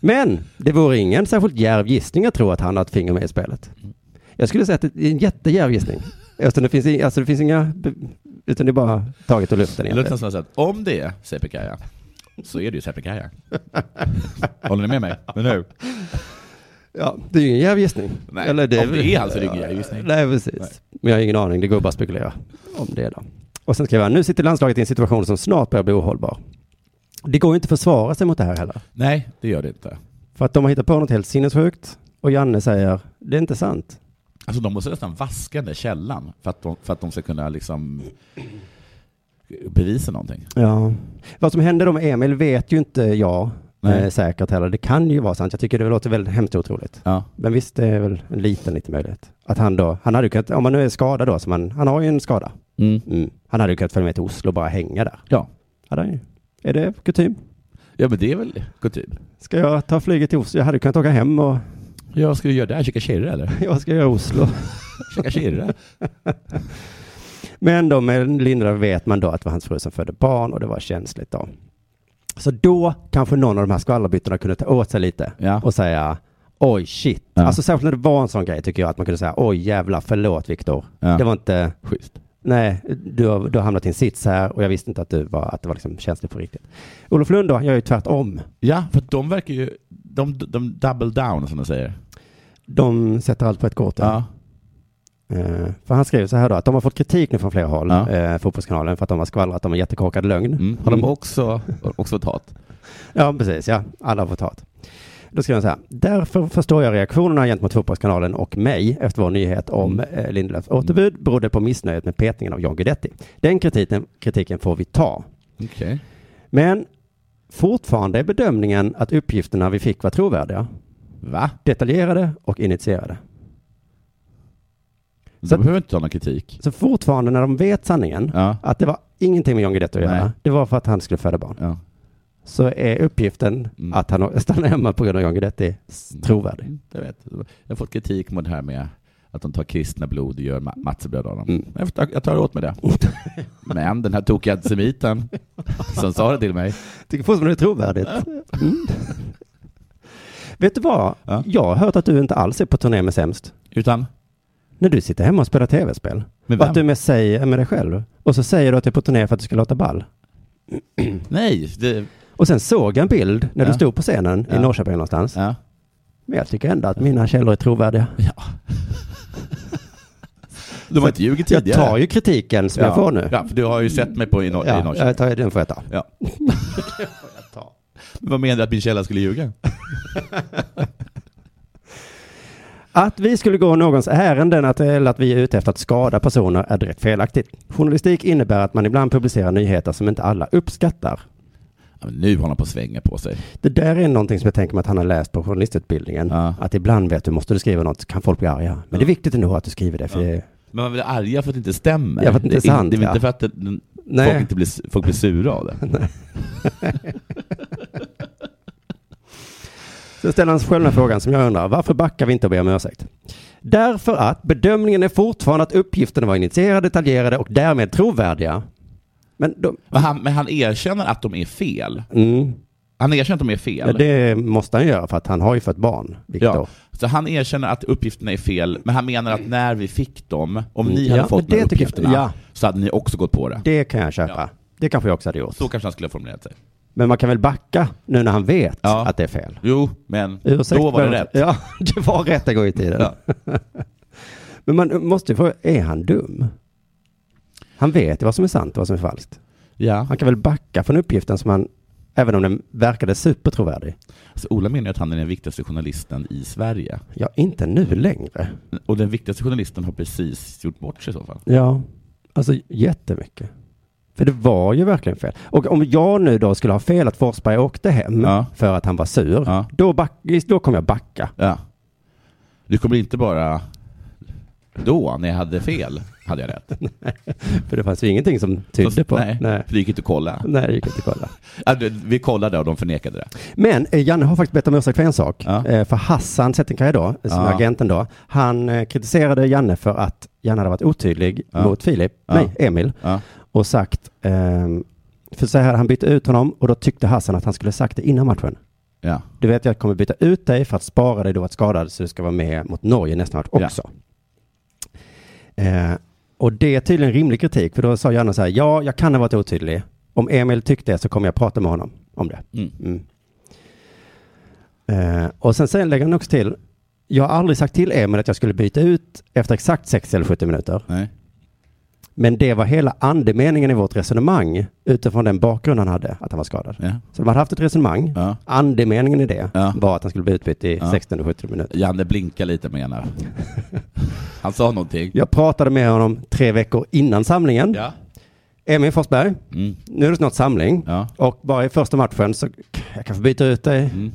Men det vore ingen särskilt djärv gissning att tro att han har ett finger med i spelet. Jag skulle säga att det är en jättedjärv gissning. Eftersom det finns, i- alltså det finns inga, be- utan det är bara taget ur luften. Det egentligen. låter nästan så att om det är Sepikaya så är det ju Sepikaya. Håller ni med mig? Men nu? Ja, det är ju ingen djärv gissning. Nej, om det är han så är det ingen djärv gissning. Nej, precis. Nej. Men jag har ingen aning, det går bara att spekulera om det då. Och sen skriver han, nu sitter landslaget i en situation som snart börjar bli ohållbar. Det går ju inte att försvara sig mot det här heller. Nej, det gör det inte. För att de har hittat på något helt sinnessjukt och Janne säger, det är inte sant. Alltså de måste nästan vaska den där källan för att de, för att de ska kunna liksom bevisa någonting. Ja. Vad som hände då med Emil vet ju inte jag Nej. eh, säkert heller. Det kan ju vara sant. Jag tycker det låter väldigt hemskt otroligt. Ja. Men visst, det är väl en liten, liten möjlighet. Att han då, han hade ju kunnat, om han nu är skadad då, som han, han har ju en skada. Mm. Mm. Han hade ju kunnat följa med till Oslo och bara hänga där. Ja. Hade han ju. Är det kutym? ja, men det är väl typ. kutym. Ska jag ta flyget till Oslo? Jag hade kunnat åka hem och Ja, vad ska du göra där? Käka kirre eller? jag ska göra Oslo. Käka kirre? Men då med Linda vet man då att det var hans fru som födde barn och det var känsligt då. Så då kanske någon av de här skvallerbyttorna kunde ta åt sig lite Ja. och säga oj shit. Ja. Alltså särskilt när det var en sån grej tycker jag att man kunde säga oj jävlar förlåt Viktor. Ja. Det var inte Schysst. Nej, du har, du har hamnat i en sits här och jag visste inte att, du var, att det var liksom känsligt på riktigt. Olof Lund då, han gör ju tvärtom. Ja, för att de verkar ju... De, de double down som de säger. De sätter allt på ett kort. Ja. Eh, för han skrev så här då, att de har fått kritik nu från flera håll, Ja. eh, Fotbollskanalen, för att de har skvallrat om en jättekorkad lögn. Mm. Har de också, också fått hat? Ja, precis. Ja, alla har fått hat. Då skrev han så här, därför förstår jag reaktionerna gentemot Fotbollskanalen och mig efter vår nyhet om Mm. eh, Lindelöfs återbud berodde på missnöjet med petningen av John Guidetti. Den kritiken, kritiken får vi ta. Okej. Men fortfarande är bedömningen att uppgifterna vi fick var trovärdiga, Va? detaljerade och initierade. De Så- behöver inte ta någon kritik. Så fortfarande när de vet sanningen, Ja. att det var ingenting med John Guidetti att göra, Nej. det var för att han skulle föda barn. Ja. så är uppgiften Mm. att han stannar hemma på grund av John Guidetti s- trovärdig. Mm, Jag vet. Jag har fått kritik mot det här med att de tar kristna blod och gör ma- matsebröd av dem. Mm. Jag tar- Jag tar åt mig det. Men den här tokiga antisemiten som sa det till mig. Tycker fortfarande det är trovärdigt. Mm. Vet du vad? Ja. Jag har hört att du inte alls är på turné med Sämst. Utan, När du sitter hemma och spelar tv-spel. Med och vem? att du med säger med dig själv. Och så säger du att du är på turné för att du ska låta ball. nej. Det, Och sen såg jag en bild när Ja. du stod på scenen Ja. i Norrköping någonstans. ja. Men jag tycker ändå att mina källor är trovärdiga. De har inte ljugit Jag tidigare. tar ju kritiken som ja. jag får nu. Ja, för du har ju sett mig på i, Nor- i Ja, Norrköping. jag tar, den får jag ta. Ja. Vad menar du att min källa skulle ljuga? Att vi skulle gå någons ärenden att, eller att vi är ute efter att skada personer är direkt felaktigt. Journalistik innebär att man ibland publicerar nyheter som inte alla uppskattar. Ja, men nu håller han på att svänga på sig. Det där är någonting som jag tänker mig att han har läst på journalistutbildningen. Ja. Att ibland vet du, måste du skriva något kan folk bli arga. Men det är viktigt ändå att du skriver det. För det Men man blir arga för att det inte stämmer. Ja, för att det inte är är sant, Det är ja. inte för att det, den- Nej. folk, inte blir, folk blir sura av det. Sen ställer han själv den här frågan som jag undrar. Varför backar vi inte och ber om ursäkt? Därför att bedömningen är fortfarande att uppgifterna var initierade, detaljerade och därmed trovärdiga. Men de, Men han, men han erkänner att de är fel. mm, Han erkänner att de är fel. Ja, det måste han göra för att han har ju fött barn, Viktor. Ja, så han erkänner att uppgifterna är fel, men han menar att när vi fick dem, om ni Ja, hade fått men de här det tycker jag- uppgifterna, ja. så hade ni också gått på det. Det kan jag köpa. Ja. Det kanske jag också hade gjort. Så kanske han skulle ha formulerat sig. Men man kan väl backa nu när han vet Ja. att det är fel. Jo, men Ursäkt, då var det men- rätt. Ja, det var rätt en gång i tiden. Ja. Men man måste ju fråga, är han dum? Han vet ju vad som är sant och vad som är falskt. ja. Han kan väl backa från uppgiften som han, även om den verkade supertrovärdig. Så Ola menar ju att han är den viktigaste journalisten i Sverige. Ja, inte nu längre. Och den viktigaste journalisten har precis gjort bort sig i så fall. Ja, alltså jättemycket. För det var ju verkligen fel. Och om jag nu då skulle ha fel att Forsberg åkte hem Ja. för att han var sur, Ja. då, back, då kommer jag backa. Ja. Du kommer inte bara... Då, när jag hade fel, hade jag rätt. För det fanns ju ingenting som tydde Så- på. Nej, Nej. för det gick inte att kolla. Nej, det gick inte att kolla. Ja, du- Vi kollade och de förnekade det. Men eh, Janne har faktiskt bett om ursäkt för en sak. Ja. Eh, För Hassan Settenkaj då, som Ja. är agenten då, han eh, kritiserade Janne för att Janne hade varit otydlig Ja. mot Filip, Ja. nej, Emil, Ja. och sagt, ehm, för så här, han bytte ut honom och då tyckte Hassan att han skulle ha sagt det innan matchen. Ja. Du vet, jag kommer byta ut dig för att spara dig. Du har varit skadad så du ska vara med mot Norge nästa match Ja. också. Eh, och det är tydligen rimlig kritik, för då sa Janne så här, ja, jag kan ha varit otydlig. Om Emil tyckte det så kommer jag prata med honom om det. Mm. Mm. Eh, och sen, sen lägger han också till, jag har aldrig sagt till Emil att jag skulle byta ut efter exakt 60 eller 70 minuter. Nej. Men det var hela andemeningen i vårt resonemang utifrån den bakgrund han hade, att han var skadad. Ja. Så de hade haft ett resonemang. Ja. Andemeningen i det Ja. var att han skulle bli utbytt i Ja. 16 17 minuter. Janne blinkar lite menar Han sa någonting. Jag pratade med honom tre veckor innan samlingen. Ja. Emil Forsberg, Mm. nu är det snart samling. Ja. Och bara i första matchen så k- jag kan få byta ut dig. Mm.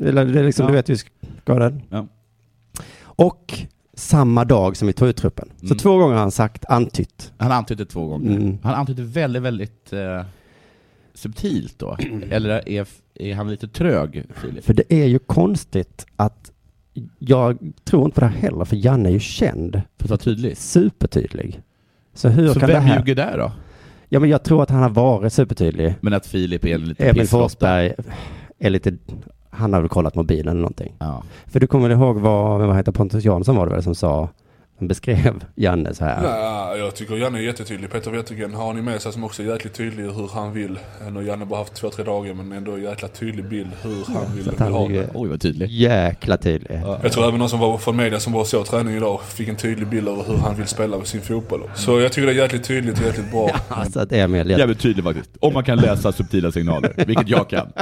Eller det är liksom, Ja. du vet, du är skadad. Ja. Och samma dag som vi tog ut truppen. Så Mm. två gånger har han sagt antytt. Han antydde två gånger. Mm. Han antydde väldigt, väldigt eh, subtilt då. Eller är, är han lite trög, Filip? För det är ju konstigt att jag tror inte på det här heller, för Janne är ju känd. För att vara tydlig. Supertydlig. Så hur Så kan det vem här... ljuger där då? Ja, men jag tror att han har varit supertydlig. Men att Filip är en liten Emil pisslotta. Forsberg är lite... Han har väl kollat mobilen eller någonting. Ja. För du kommer väl ihåg vad, vad heter Pontus Jansson var det väl som sa, som beskrev Janne så här. Nej, jag tycker Janne är jättetydlig. Peter Wettergren har ni med sig som också är jäkligt tydlig i hur han vill. Eh, Nu har Janne bara haft två, tre dagar men ändå en jäkla tydlig bild hur han vill, att vill han ha är ju det. Oj, vad tydlig. Jäkla tydlig. Jag tror även någon som var från media som var och såg träningen idag fick en tydlig bild av hur han vill spela med sin fotboll. Så jag tycker det är jäkligt tydligt och jäkligt bra. Alltså att Emil... Jävligt tydlig faktiskt. Om man kan läsa subtila signaler, vilket jag kan.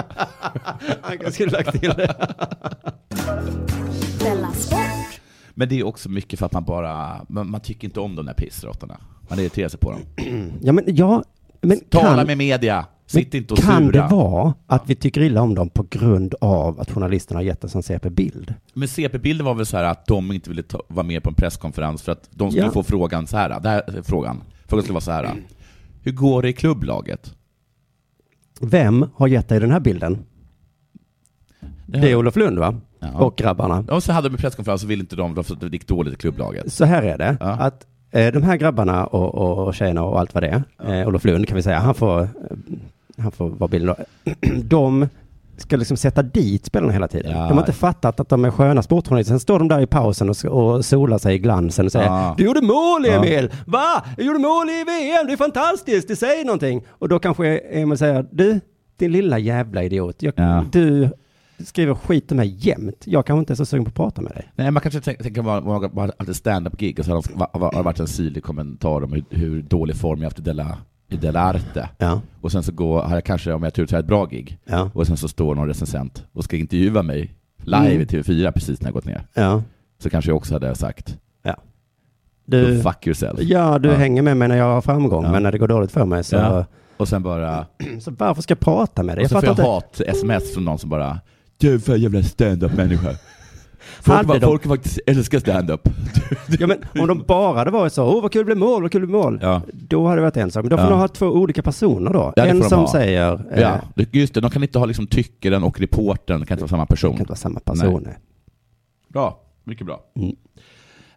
Jag skulle lagt till det. Della Sport. Men det är också mycket för att man bara, man, man tycker inte om de där pissråttorna. Man irriterar sig på dem. Ja, men ja, men Tala kan, med media! Sitt inte och kan sura. det vara att vi tycker illa om dem på grund av att journalisterna har gett oss en CP-bild? Men CP-bilden var väl så här att de inte ville ta, vara med på en presskonferens för att de skulle Ja. få frågan så här. Det här är frågan. Frågan skulle vara så här. Hur går det i klubblaget? Vem har gett dig den här bilden? Det är Olof Lund va? Ja. Och grabbarna. Och så hade de en presskonferens och ville inte de, för att det gick dåligt i klubblaget. Så här är det, Ja. att eh, de här grabbarna och, och, och tjejerna och allt vad det är, eh, Olof Lund kan vi säga, han får, eh, han får vara bilden då. De ska liksom sätta dit spelarna hela tiden. Ja. De har inte fattat att de är sköna sportjournalister. Sen står de där i pausen och, och solar sig i glansen och säger Ja. Du gjorde mål Ja. Emil! Va? Du gjorde mål i VM! Det är fantastiskt! Det säger någonting! Och då kanske Emil säger Du, din lilla jävla idiot. Jag, Ja. Du skriver skit om mig jämt. Jag kanske inte är så sugen på att prata med dig. Nej, man kanske tänker tänker man man- man har haft ett stand-up-gig och så har de- va- va- har det varit en syrlig kommentar om hur, hur dålig form jag haft i Della, i Della Arte. Ja. Och sen så går, har jag kanske, om jag har tur, så har jag ett bra gig. Ja. Och sen så står någon recensent och ska intervjua mig live Mm. i TV4 precis när jag gått ner. Ja. Så kanske jag också hade sagt Du, Go fuck yourself. Eh, Ja, du Ja. hänger med mig när jag har framgång, Ja. men när det går dåligt för mig så, Ja. Och sen bara, så varför ska jag prata med dig? och Jag så får fattar jag inte. hat-sms från någon som bara Du är för jävla stand-up-människa. Hade Folk, va, de- folk faktiskt älskar stand-up. Ja, men om de bara hade varit så, åh vad kul det blev mål, vad kul det blev mål. Ja. Då hade det varit en sak. Men då får Ja. de ha två olika personer då. Ja, det får en de som ha. säger, eh, ja, just det. De kan inte ha liksom tyckaren och reportern kan inte vara samma person. kan inte vara samma person. Bra, mycket bra. Mm.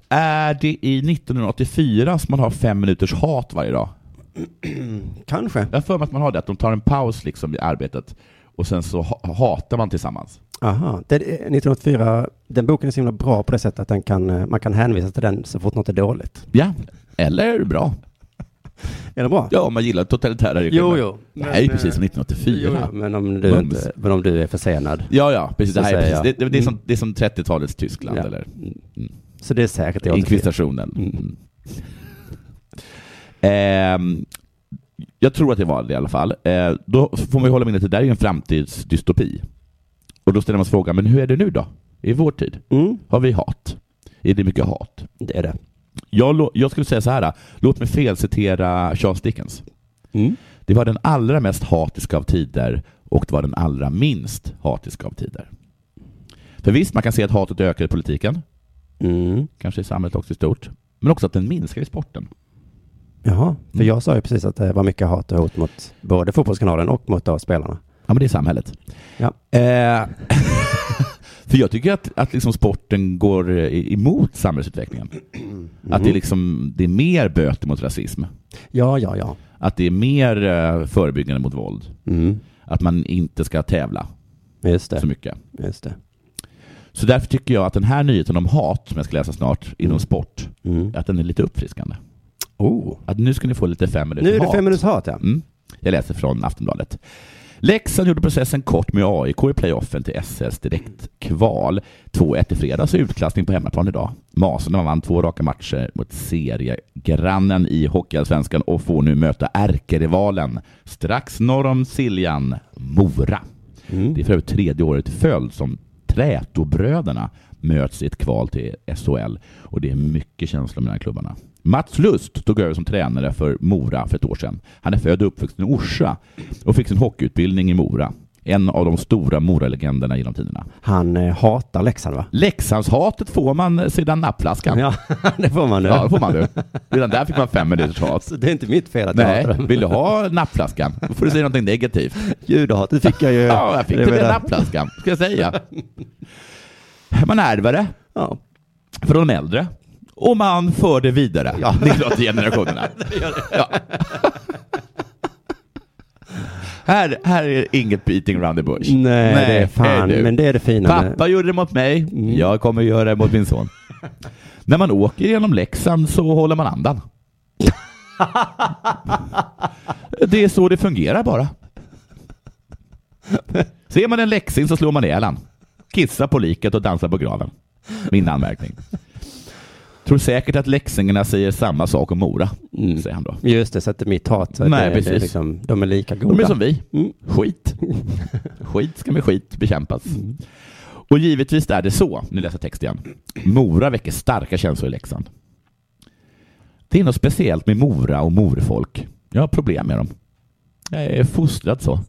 Är det i 1984 som man har fem minuters hat varje dag? Kanske. Jag har för mig att man har det, att de tar en paus liksom i arbetet och sen så ha- hatar man tillsammans. Aha, det, eh, 1984, den boken är så himla bra på det sättet att den kan, eh, man kan hänvisa till den så fort något är dåligt. Ja, eller bra. Är det bra? Ja, om man gillar totalitära regimer. Det här är ju precis som 1984. Men om du, inte, men om du är försenad. Ja, ja, precis. Det, Mm. här är Så säger precis. jag. Det, det, det, är som, det är som 30-talets Tyskland, Ja. eller Så det är säkert i 84. inkvisitionen. Mm. Ehm, jag tror att det var det i alla fall. Eh, då får man ju hålla i minnet att det där är ju en framtidsdystopi. Och då ställer man sig frågan, men hur är det nu då? I vår tid? Mm, Har vi hat? Är det mycket hat? det är det. Jag, lo- jag skulle säga så här, låt mig felcitera Charles Dickens. Mm. Det var den allra mest hatiska av tider och det var den allra minst hatiska av tider. För visst, man kan se att hatet ökar i politiken, Mm. kanske i samhället också i stort, men också att den minskar i sporten. Jaha, för jag sa ju precis att det var mycket hat och hot mot både fotbollskanalen och mot då spelarna. Ja, men det är samhället. Ja. Eh, för jag tycker att, att liksom sporten går eh, emot samhällsutvecklingen. Att Mm. det är, liksom, det är mer böter mot rasism, Ja, ja, ja. att det är mer eh, förebyggande mot våld, Mm. att man inte ska tävla Just så det, mycket. just det. Så därför tycker jag att den här nyheten om hat, som jag ska läsa snart, inom sport, Mm. att den är lite uppfriskande. Oh. Att nu ska ni få lite fem minuter Nu är det hat. fem minuters hat, ja. Mm. Jag läser från Aftonbladet. Leksand gjorde processen kort med AIK i playoffen till SS direktkval. 2-1 i fredags och utklassning på hemmaplan idag. Masarna vann två raka matcher mot seriegrannen i Hockeyallsvenskan och får nu möta ärkerivalen strax norr om Siljan, Mora. Det är för övrigt tredje året i följd som Trätobröderna möts i ett kval till SHL och det är mycket känslor mellan klubbarna. Mats Lust tog över som tränare för Mora för ett år sedan. Han är född och uppvuxen i Orsa och fick sin hockeyutbildning i Mora. En av de stora Mora-legenderna genom tiderna. Han eh, hatar Leksand, va? Leksandshatet får man sedan nappflaskan. Ja, det får man nu. Ja, det får man nu. Redan där fick man fem minuters hat. Så det är inte mitt fel att jag hatar Nej, dem. vill du ha nappflaskan? Då får du säga någonting negativt. Judehatet fick jag ju. Ja, jag fick Det den var där det. nappflaskan, ska jag säga. Man ärver det Ja. från de äldre och man för det vidare neråt i generationerna. Ja. Här, här är inget beating around the bush. Nej, det är fan, du. men Mm. det är det fina med... Pappa gjorde det mot mig, jag kommer göra det mot min son. När man åker genom Leksand så håller man andan. det är så det fungerar bara. Ser man en läxing så slår man ihjäl han. Kissa på liket och dansa på graven. Min anmärkning. Tror säkert att läxingarna säger samma sak om Mora, Mm. säger han då. Just det, så att det är mitt hat. Så att Nej, det, det är precis. liksom, de är lika goda. Mm. De är som vi. Skit. Skit ska med skit bekämpas. Och givetvis är det så, nu läser jag text igen. Mora väcker starka känslor i Leksand. Det är något speciellt med Mora och morfolk. Jag har problem med dem. Jag är fostrad så.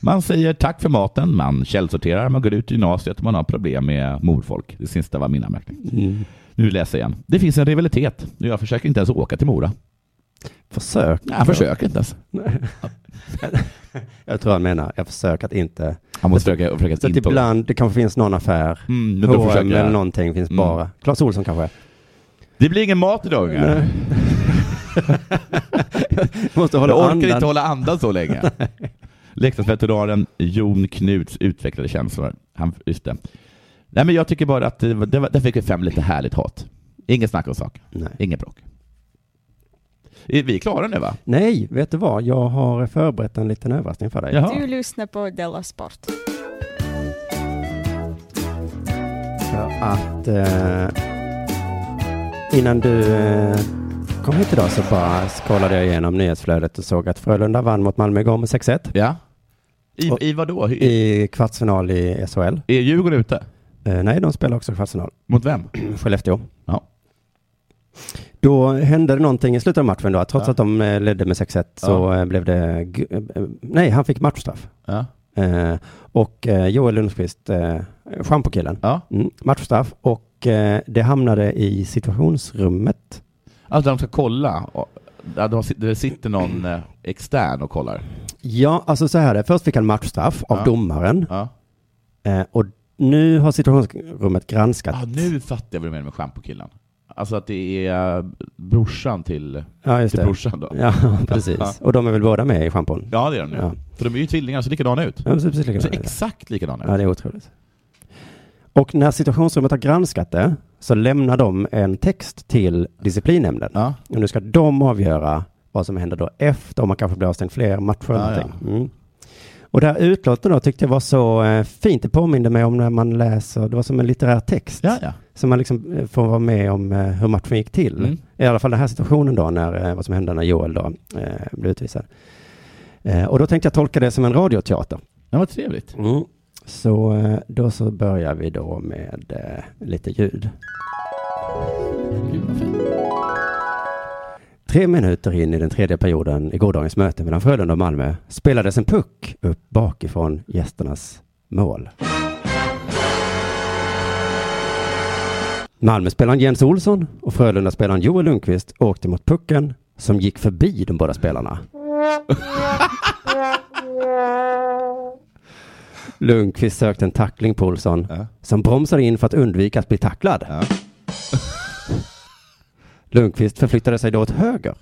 Man säger tack för maten, man källsorterar, man går ut i gymnasiet och man har problem med morfolk. Det sista var min anmärkning. Mm. Nu läser jag igen. Det finns en rivalitet. Jag försöker inte ens åka till Mora. Alltså. Försök. Nej, jag försöker inte ens. Jag tror han menar, jag försöker att inte... Han måste försöka, försöka Så att inte åka. ibland, det kanske finns någon affär. Mm, men då H&M försöker eller jag. någonting finns Mm. bara. Claes Olsson kanske. Det blir ingen mat idag ungar. Måste Jag hålla orkar andan. inte hålla andan så länge. Leksandsveteranen Jon Knuts utvecklade känslor. Han, just det. Nej, men jag tycker bara att det, var- det, var- där fick vi fem lite härligt hat. Inget snack om saken. Nej. Inget bråk. Är vi klara nu va? Nej, vet du vad? Jag har förberett en liten överraskning för dig. Jaha. Du lyssnar på Della Sport. För att eh, innan du eh, kom hit idag så bara kollade jag igenom nyhetsflödet och såg att Frölunda vann mot Malmö igår med 6-1 Ja. I, Och- I vad då? I, i kvartsfinal i SHL. är Djurgården ute? Eh, nej, de spelar också kvartsfinal. Mot vem? Skellefteå. Ja. Då hände det någonting i slutet av matchen då. Trots Ja. att de eh, ledde med 6-1 så Ja. eh, blev det... gu- eh, Nej, han fick matchstraff. Ja. Eh, och eh, Joel Lundqvist, eh, schampokillen, ja. mm, matchstraff. Och eh, det hamnade i situationsrummet. Alltså de ska kolla. Och- ja, De, sit- det sitter någon eh, extern och kollar. Ja, alltså så här är det. Först fick han matchstraff av Ja. domaren. Ja. Eh, och nu har situationsrummet granskat. Ah, nu fattar jag vad du menar med schampokillen. Alltså att det är brorsan till, Ja, just till det. brorsan då? Ja, precis. Och de är väl båda med i schampon? Ja, det är de ju. Ja. För de är ju tvillingar, så likadana ut. Ja, precis Så likadana. exakt likadana ut. Ja, det är otroligt. Och när situationsrummet har granskat det så lämnar de en text till disciplinnämnden. Ja. Och nu ska de avgöra vad som händer då efter, om man kanske blir avstängd fler matcher. Ja, eller ja. någonting. Mm. Och det här utlåtandet då tyckte jag var så eh, fint. Det påminde mig om när man läser, det var som en litterär text. Ja, ja. Så man liksom eh, får vara med om eh, hur matchen gick till. Mm. I alla fall den här situationen då, när, eh, vad som hände när Joel då eh, blev utvisad. Eh, och då tänkte jag tolka det som en radioteater. ja vad trevligt. Så eh, då så börjar vi då med eh, lite ljud. Gud, vad fint. Tre minuter in i den tredje perioden i gårdagens möte mellan Frölunda och Malmö spelades en puck upp bakifrån gästernas mål. Malmöspelaren Jens Olsson och Frölundaspelaren Joel Lundqvist åkte mot pucken som gick förbi de båda spelarna. Lundqvist sökte en tackling på Olsson Ja. som bromsade in för att undvika att bli tacklad. Ja. Lundqvist förflyttade sig då åt höger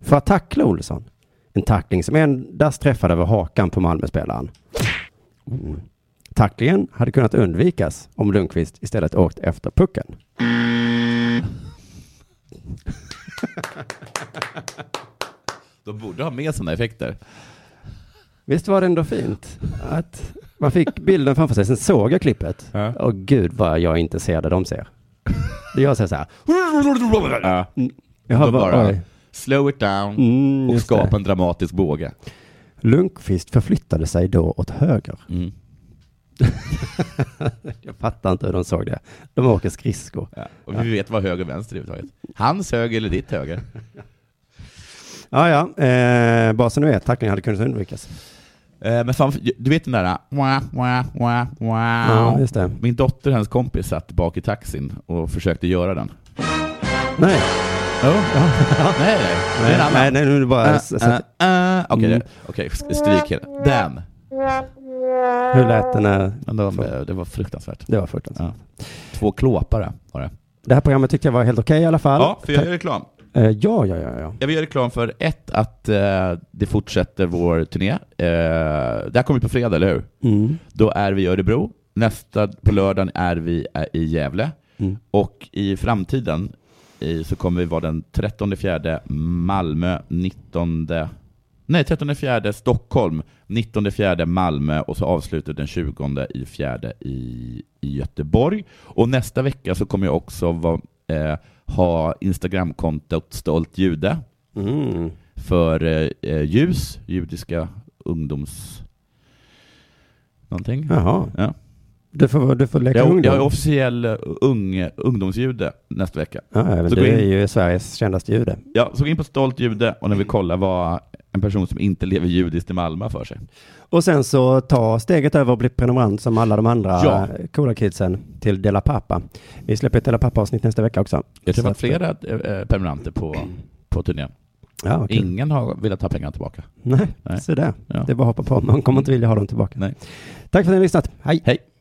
för att tackla Olsson. En tackling som endast träffade över hakan på Malmöspelaren. Mm. Tacklingen hade kunnat undvikas om Lundqvist istället åkt efter pucken. De borde ha med sådana effekter. Visst var det ändå fint att man fick bilden framför sig, sen såg jag klippet. Ja. Och gud vad jag inte ser det de ser. Jag säger så här, Ja. jag De hör bara- bara, oj. Slow it down Mm, och just skapa det. en dramatisk båge. Lundqvist förflyttade sig då åt höger. Mm. Jag fattar inte hur de såg det. De åker skridskor. Ja. Och vi vet vad höger och vänster är överhuvudtaget. Hans höger eller ditt höger? Ja, ja, eh, bara så nu är tacklingen hade kunnat undvikas. Eh, men fan, du vet den där... Wah, wah, wah, wah. Ja, just det. Min dotter och hennes kompis satt bak i taxin och försökte göra den. Nej, Oh. nej, nej, det är en annan. nej, nej, nu är det bara, Äh, så, äh, så, äh. Okej, Mm. okej, stryk hela. Den. hur lät den? eh, Men det var- Det var fruktansvärt. Det var fruktansvärt. Ja. Två klåpare var det. Det här programmet tyckte jag var helt okej i alla fall. Ja, för jag gör reklam. Eh, ja, ja, ja, ja. Jag vill göra reklam för ett, att eh, det fortsätter vår turné. Eh, det här kommer ut på fredag, eller hur? Mm. Då är vi i Örebro. Nästa på lördagen är vi eh, i Gävle. Mm. Och i framtiden eh, så kommer vi vara den 13 fjärde Malmö, 19 Nej, 13 fjärde Stockholm, 19 fjärde Malmö och så avslutar den 20 i fjärde i, i Göteborg. Och nästa vecka så kommer jag också vara, eh, ha Instagramkontot Stolt Jude Mm. för eh, eh, ljus, judiska ungdoms... Någonting. Jaha. Ja. Du får, du får leka Jag, ungdom. jag är officiell eh, ung, ungdomsjude nästa vecka. ja, men Så du gå in. är ju Sveriges kändaste jude. Ja, så gå in på Stolt jude och när vi kollar vad en person som inte lever judiskt i Malmö för sig. Och sen så ta steget över och bli prenumerant som alla de andra Ja. eh, coola kidsen till Dela Pappa. Vi släpper ett Dela Pappa-avsnitt nästa vecka också. Jag har Så träffat att- flera eh, permanenter på, på turnén. Ja, vad kul. Ingen har velat ha pengarna tillbaka. Nej, Nej. så där. Ja. Det är bara att hoppa på. Man kommer inte vilja ha dem tillbaka. Nej. Tack för att ni har lyssnat. Hej! Hej!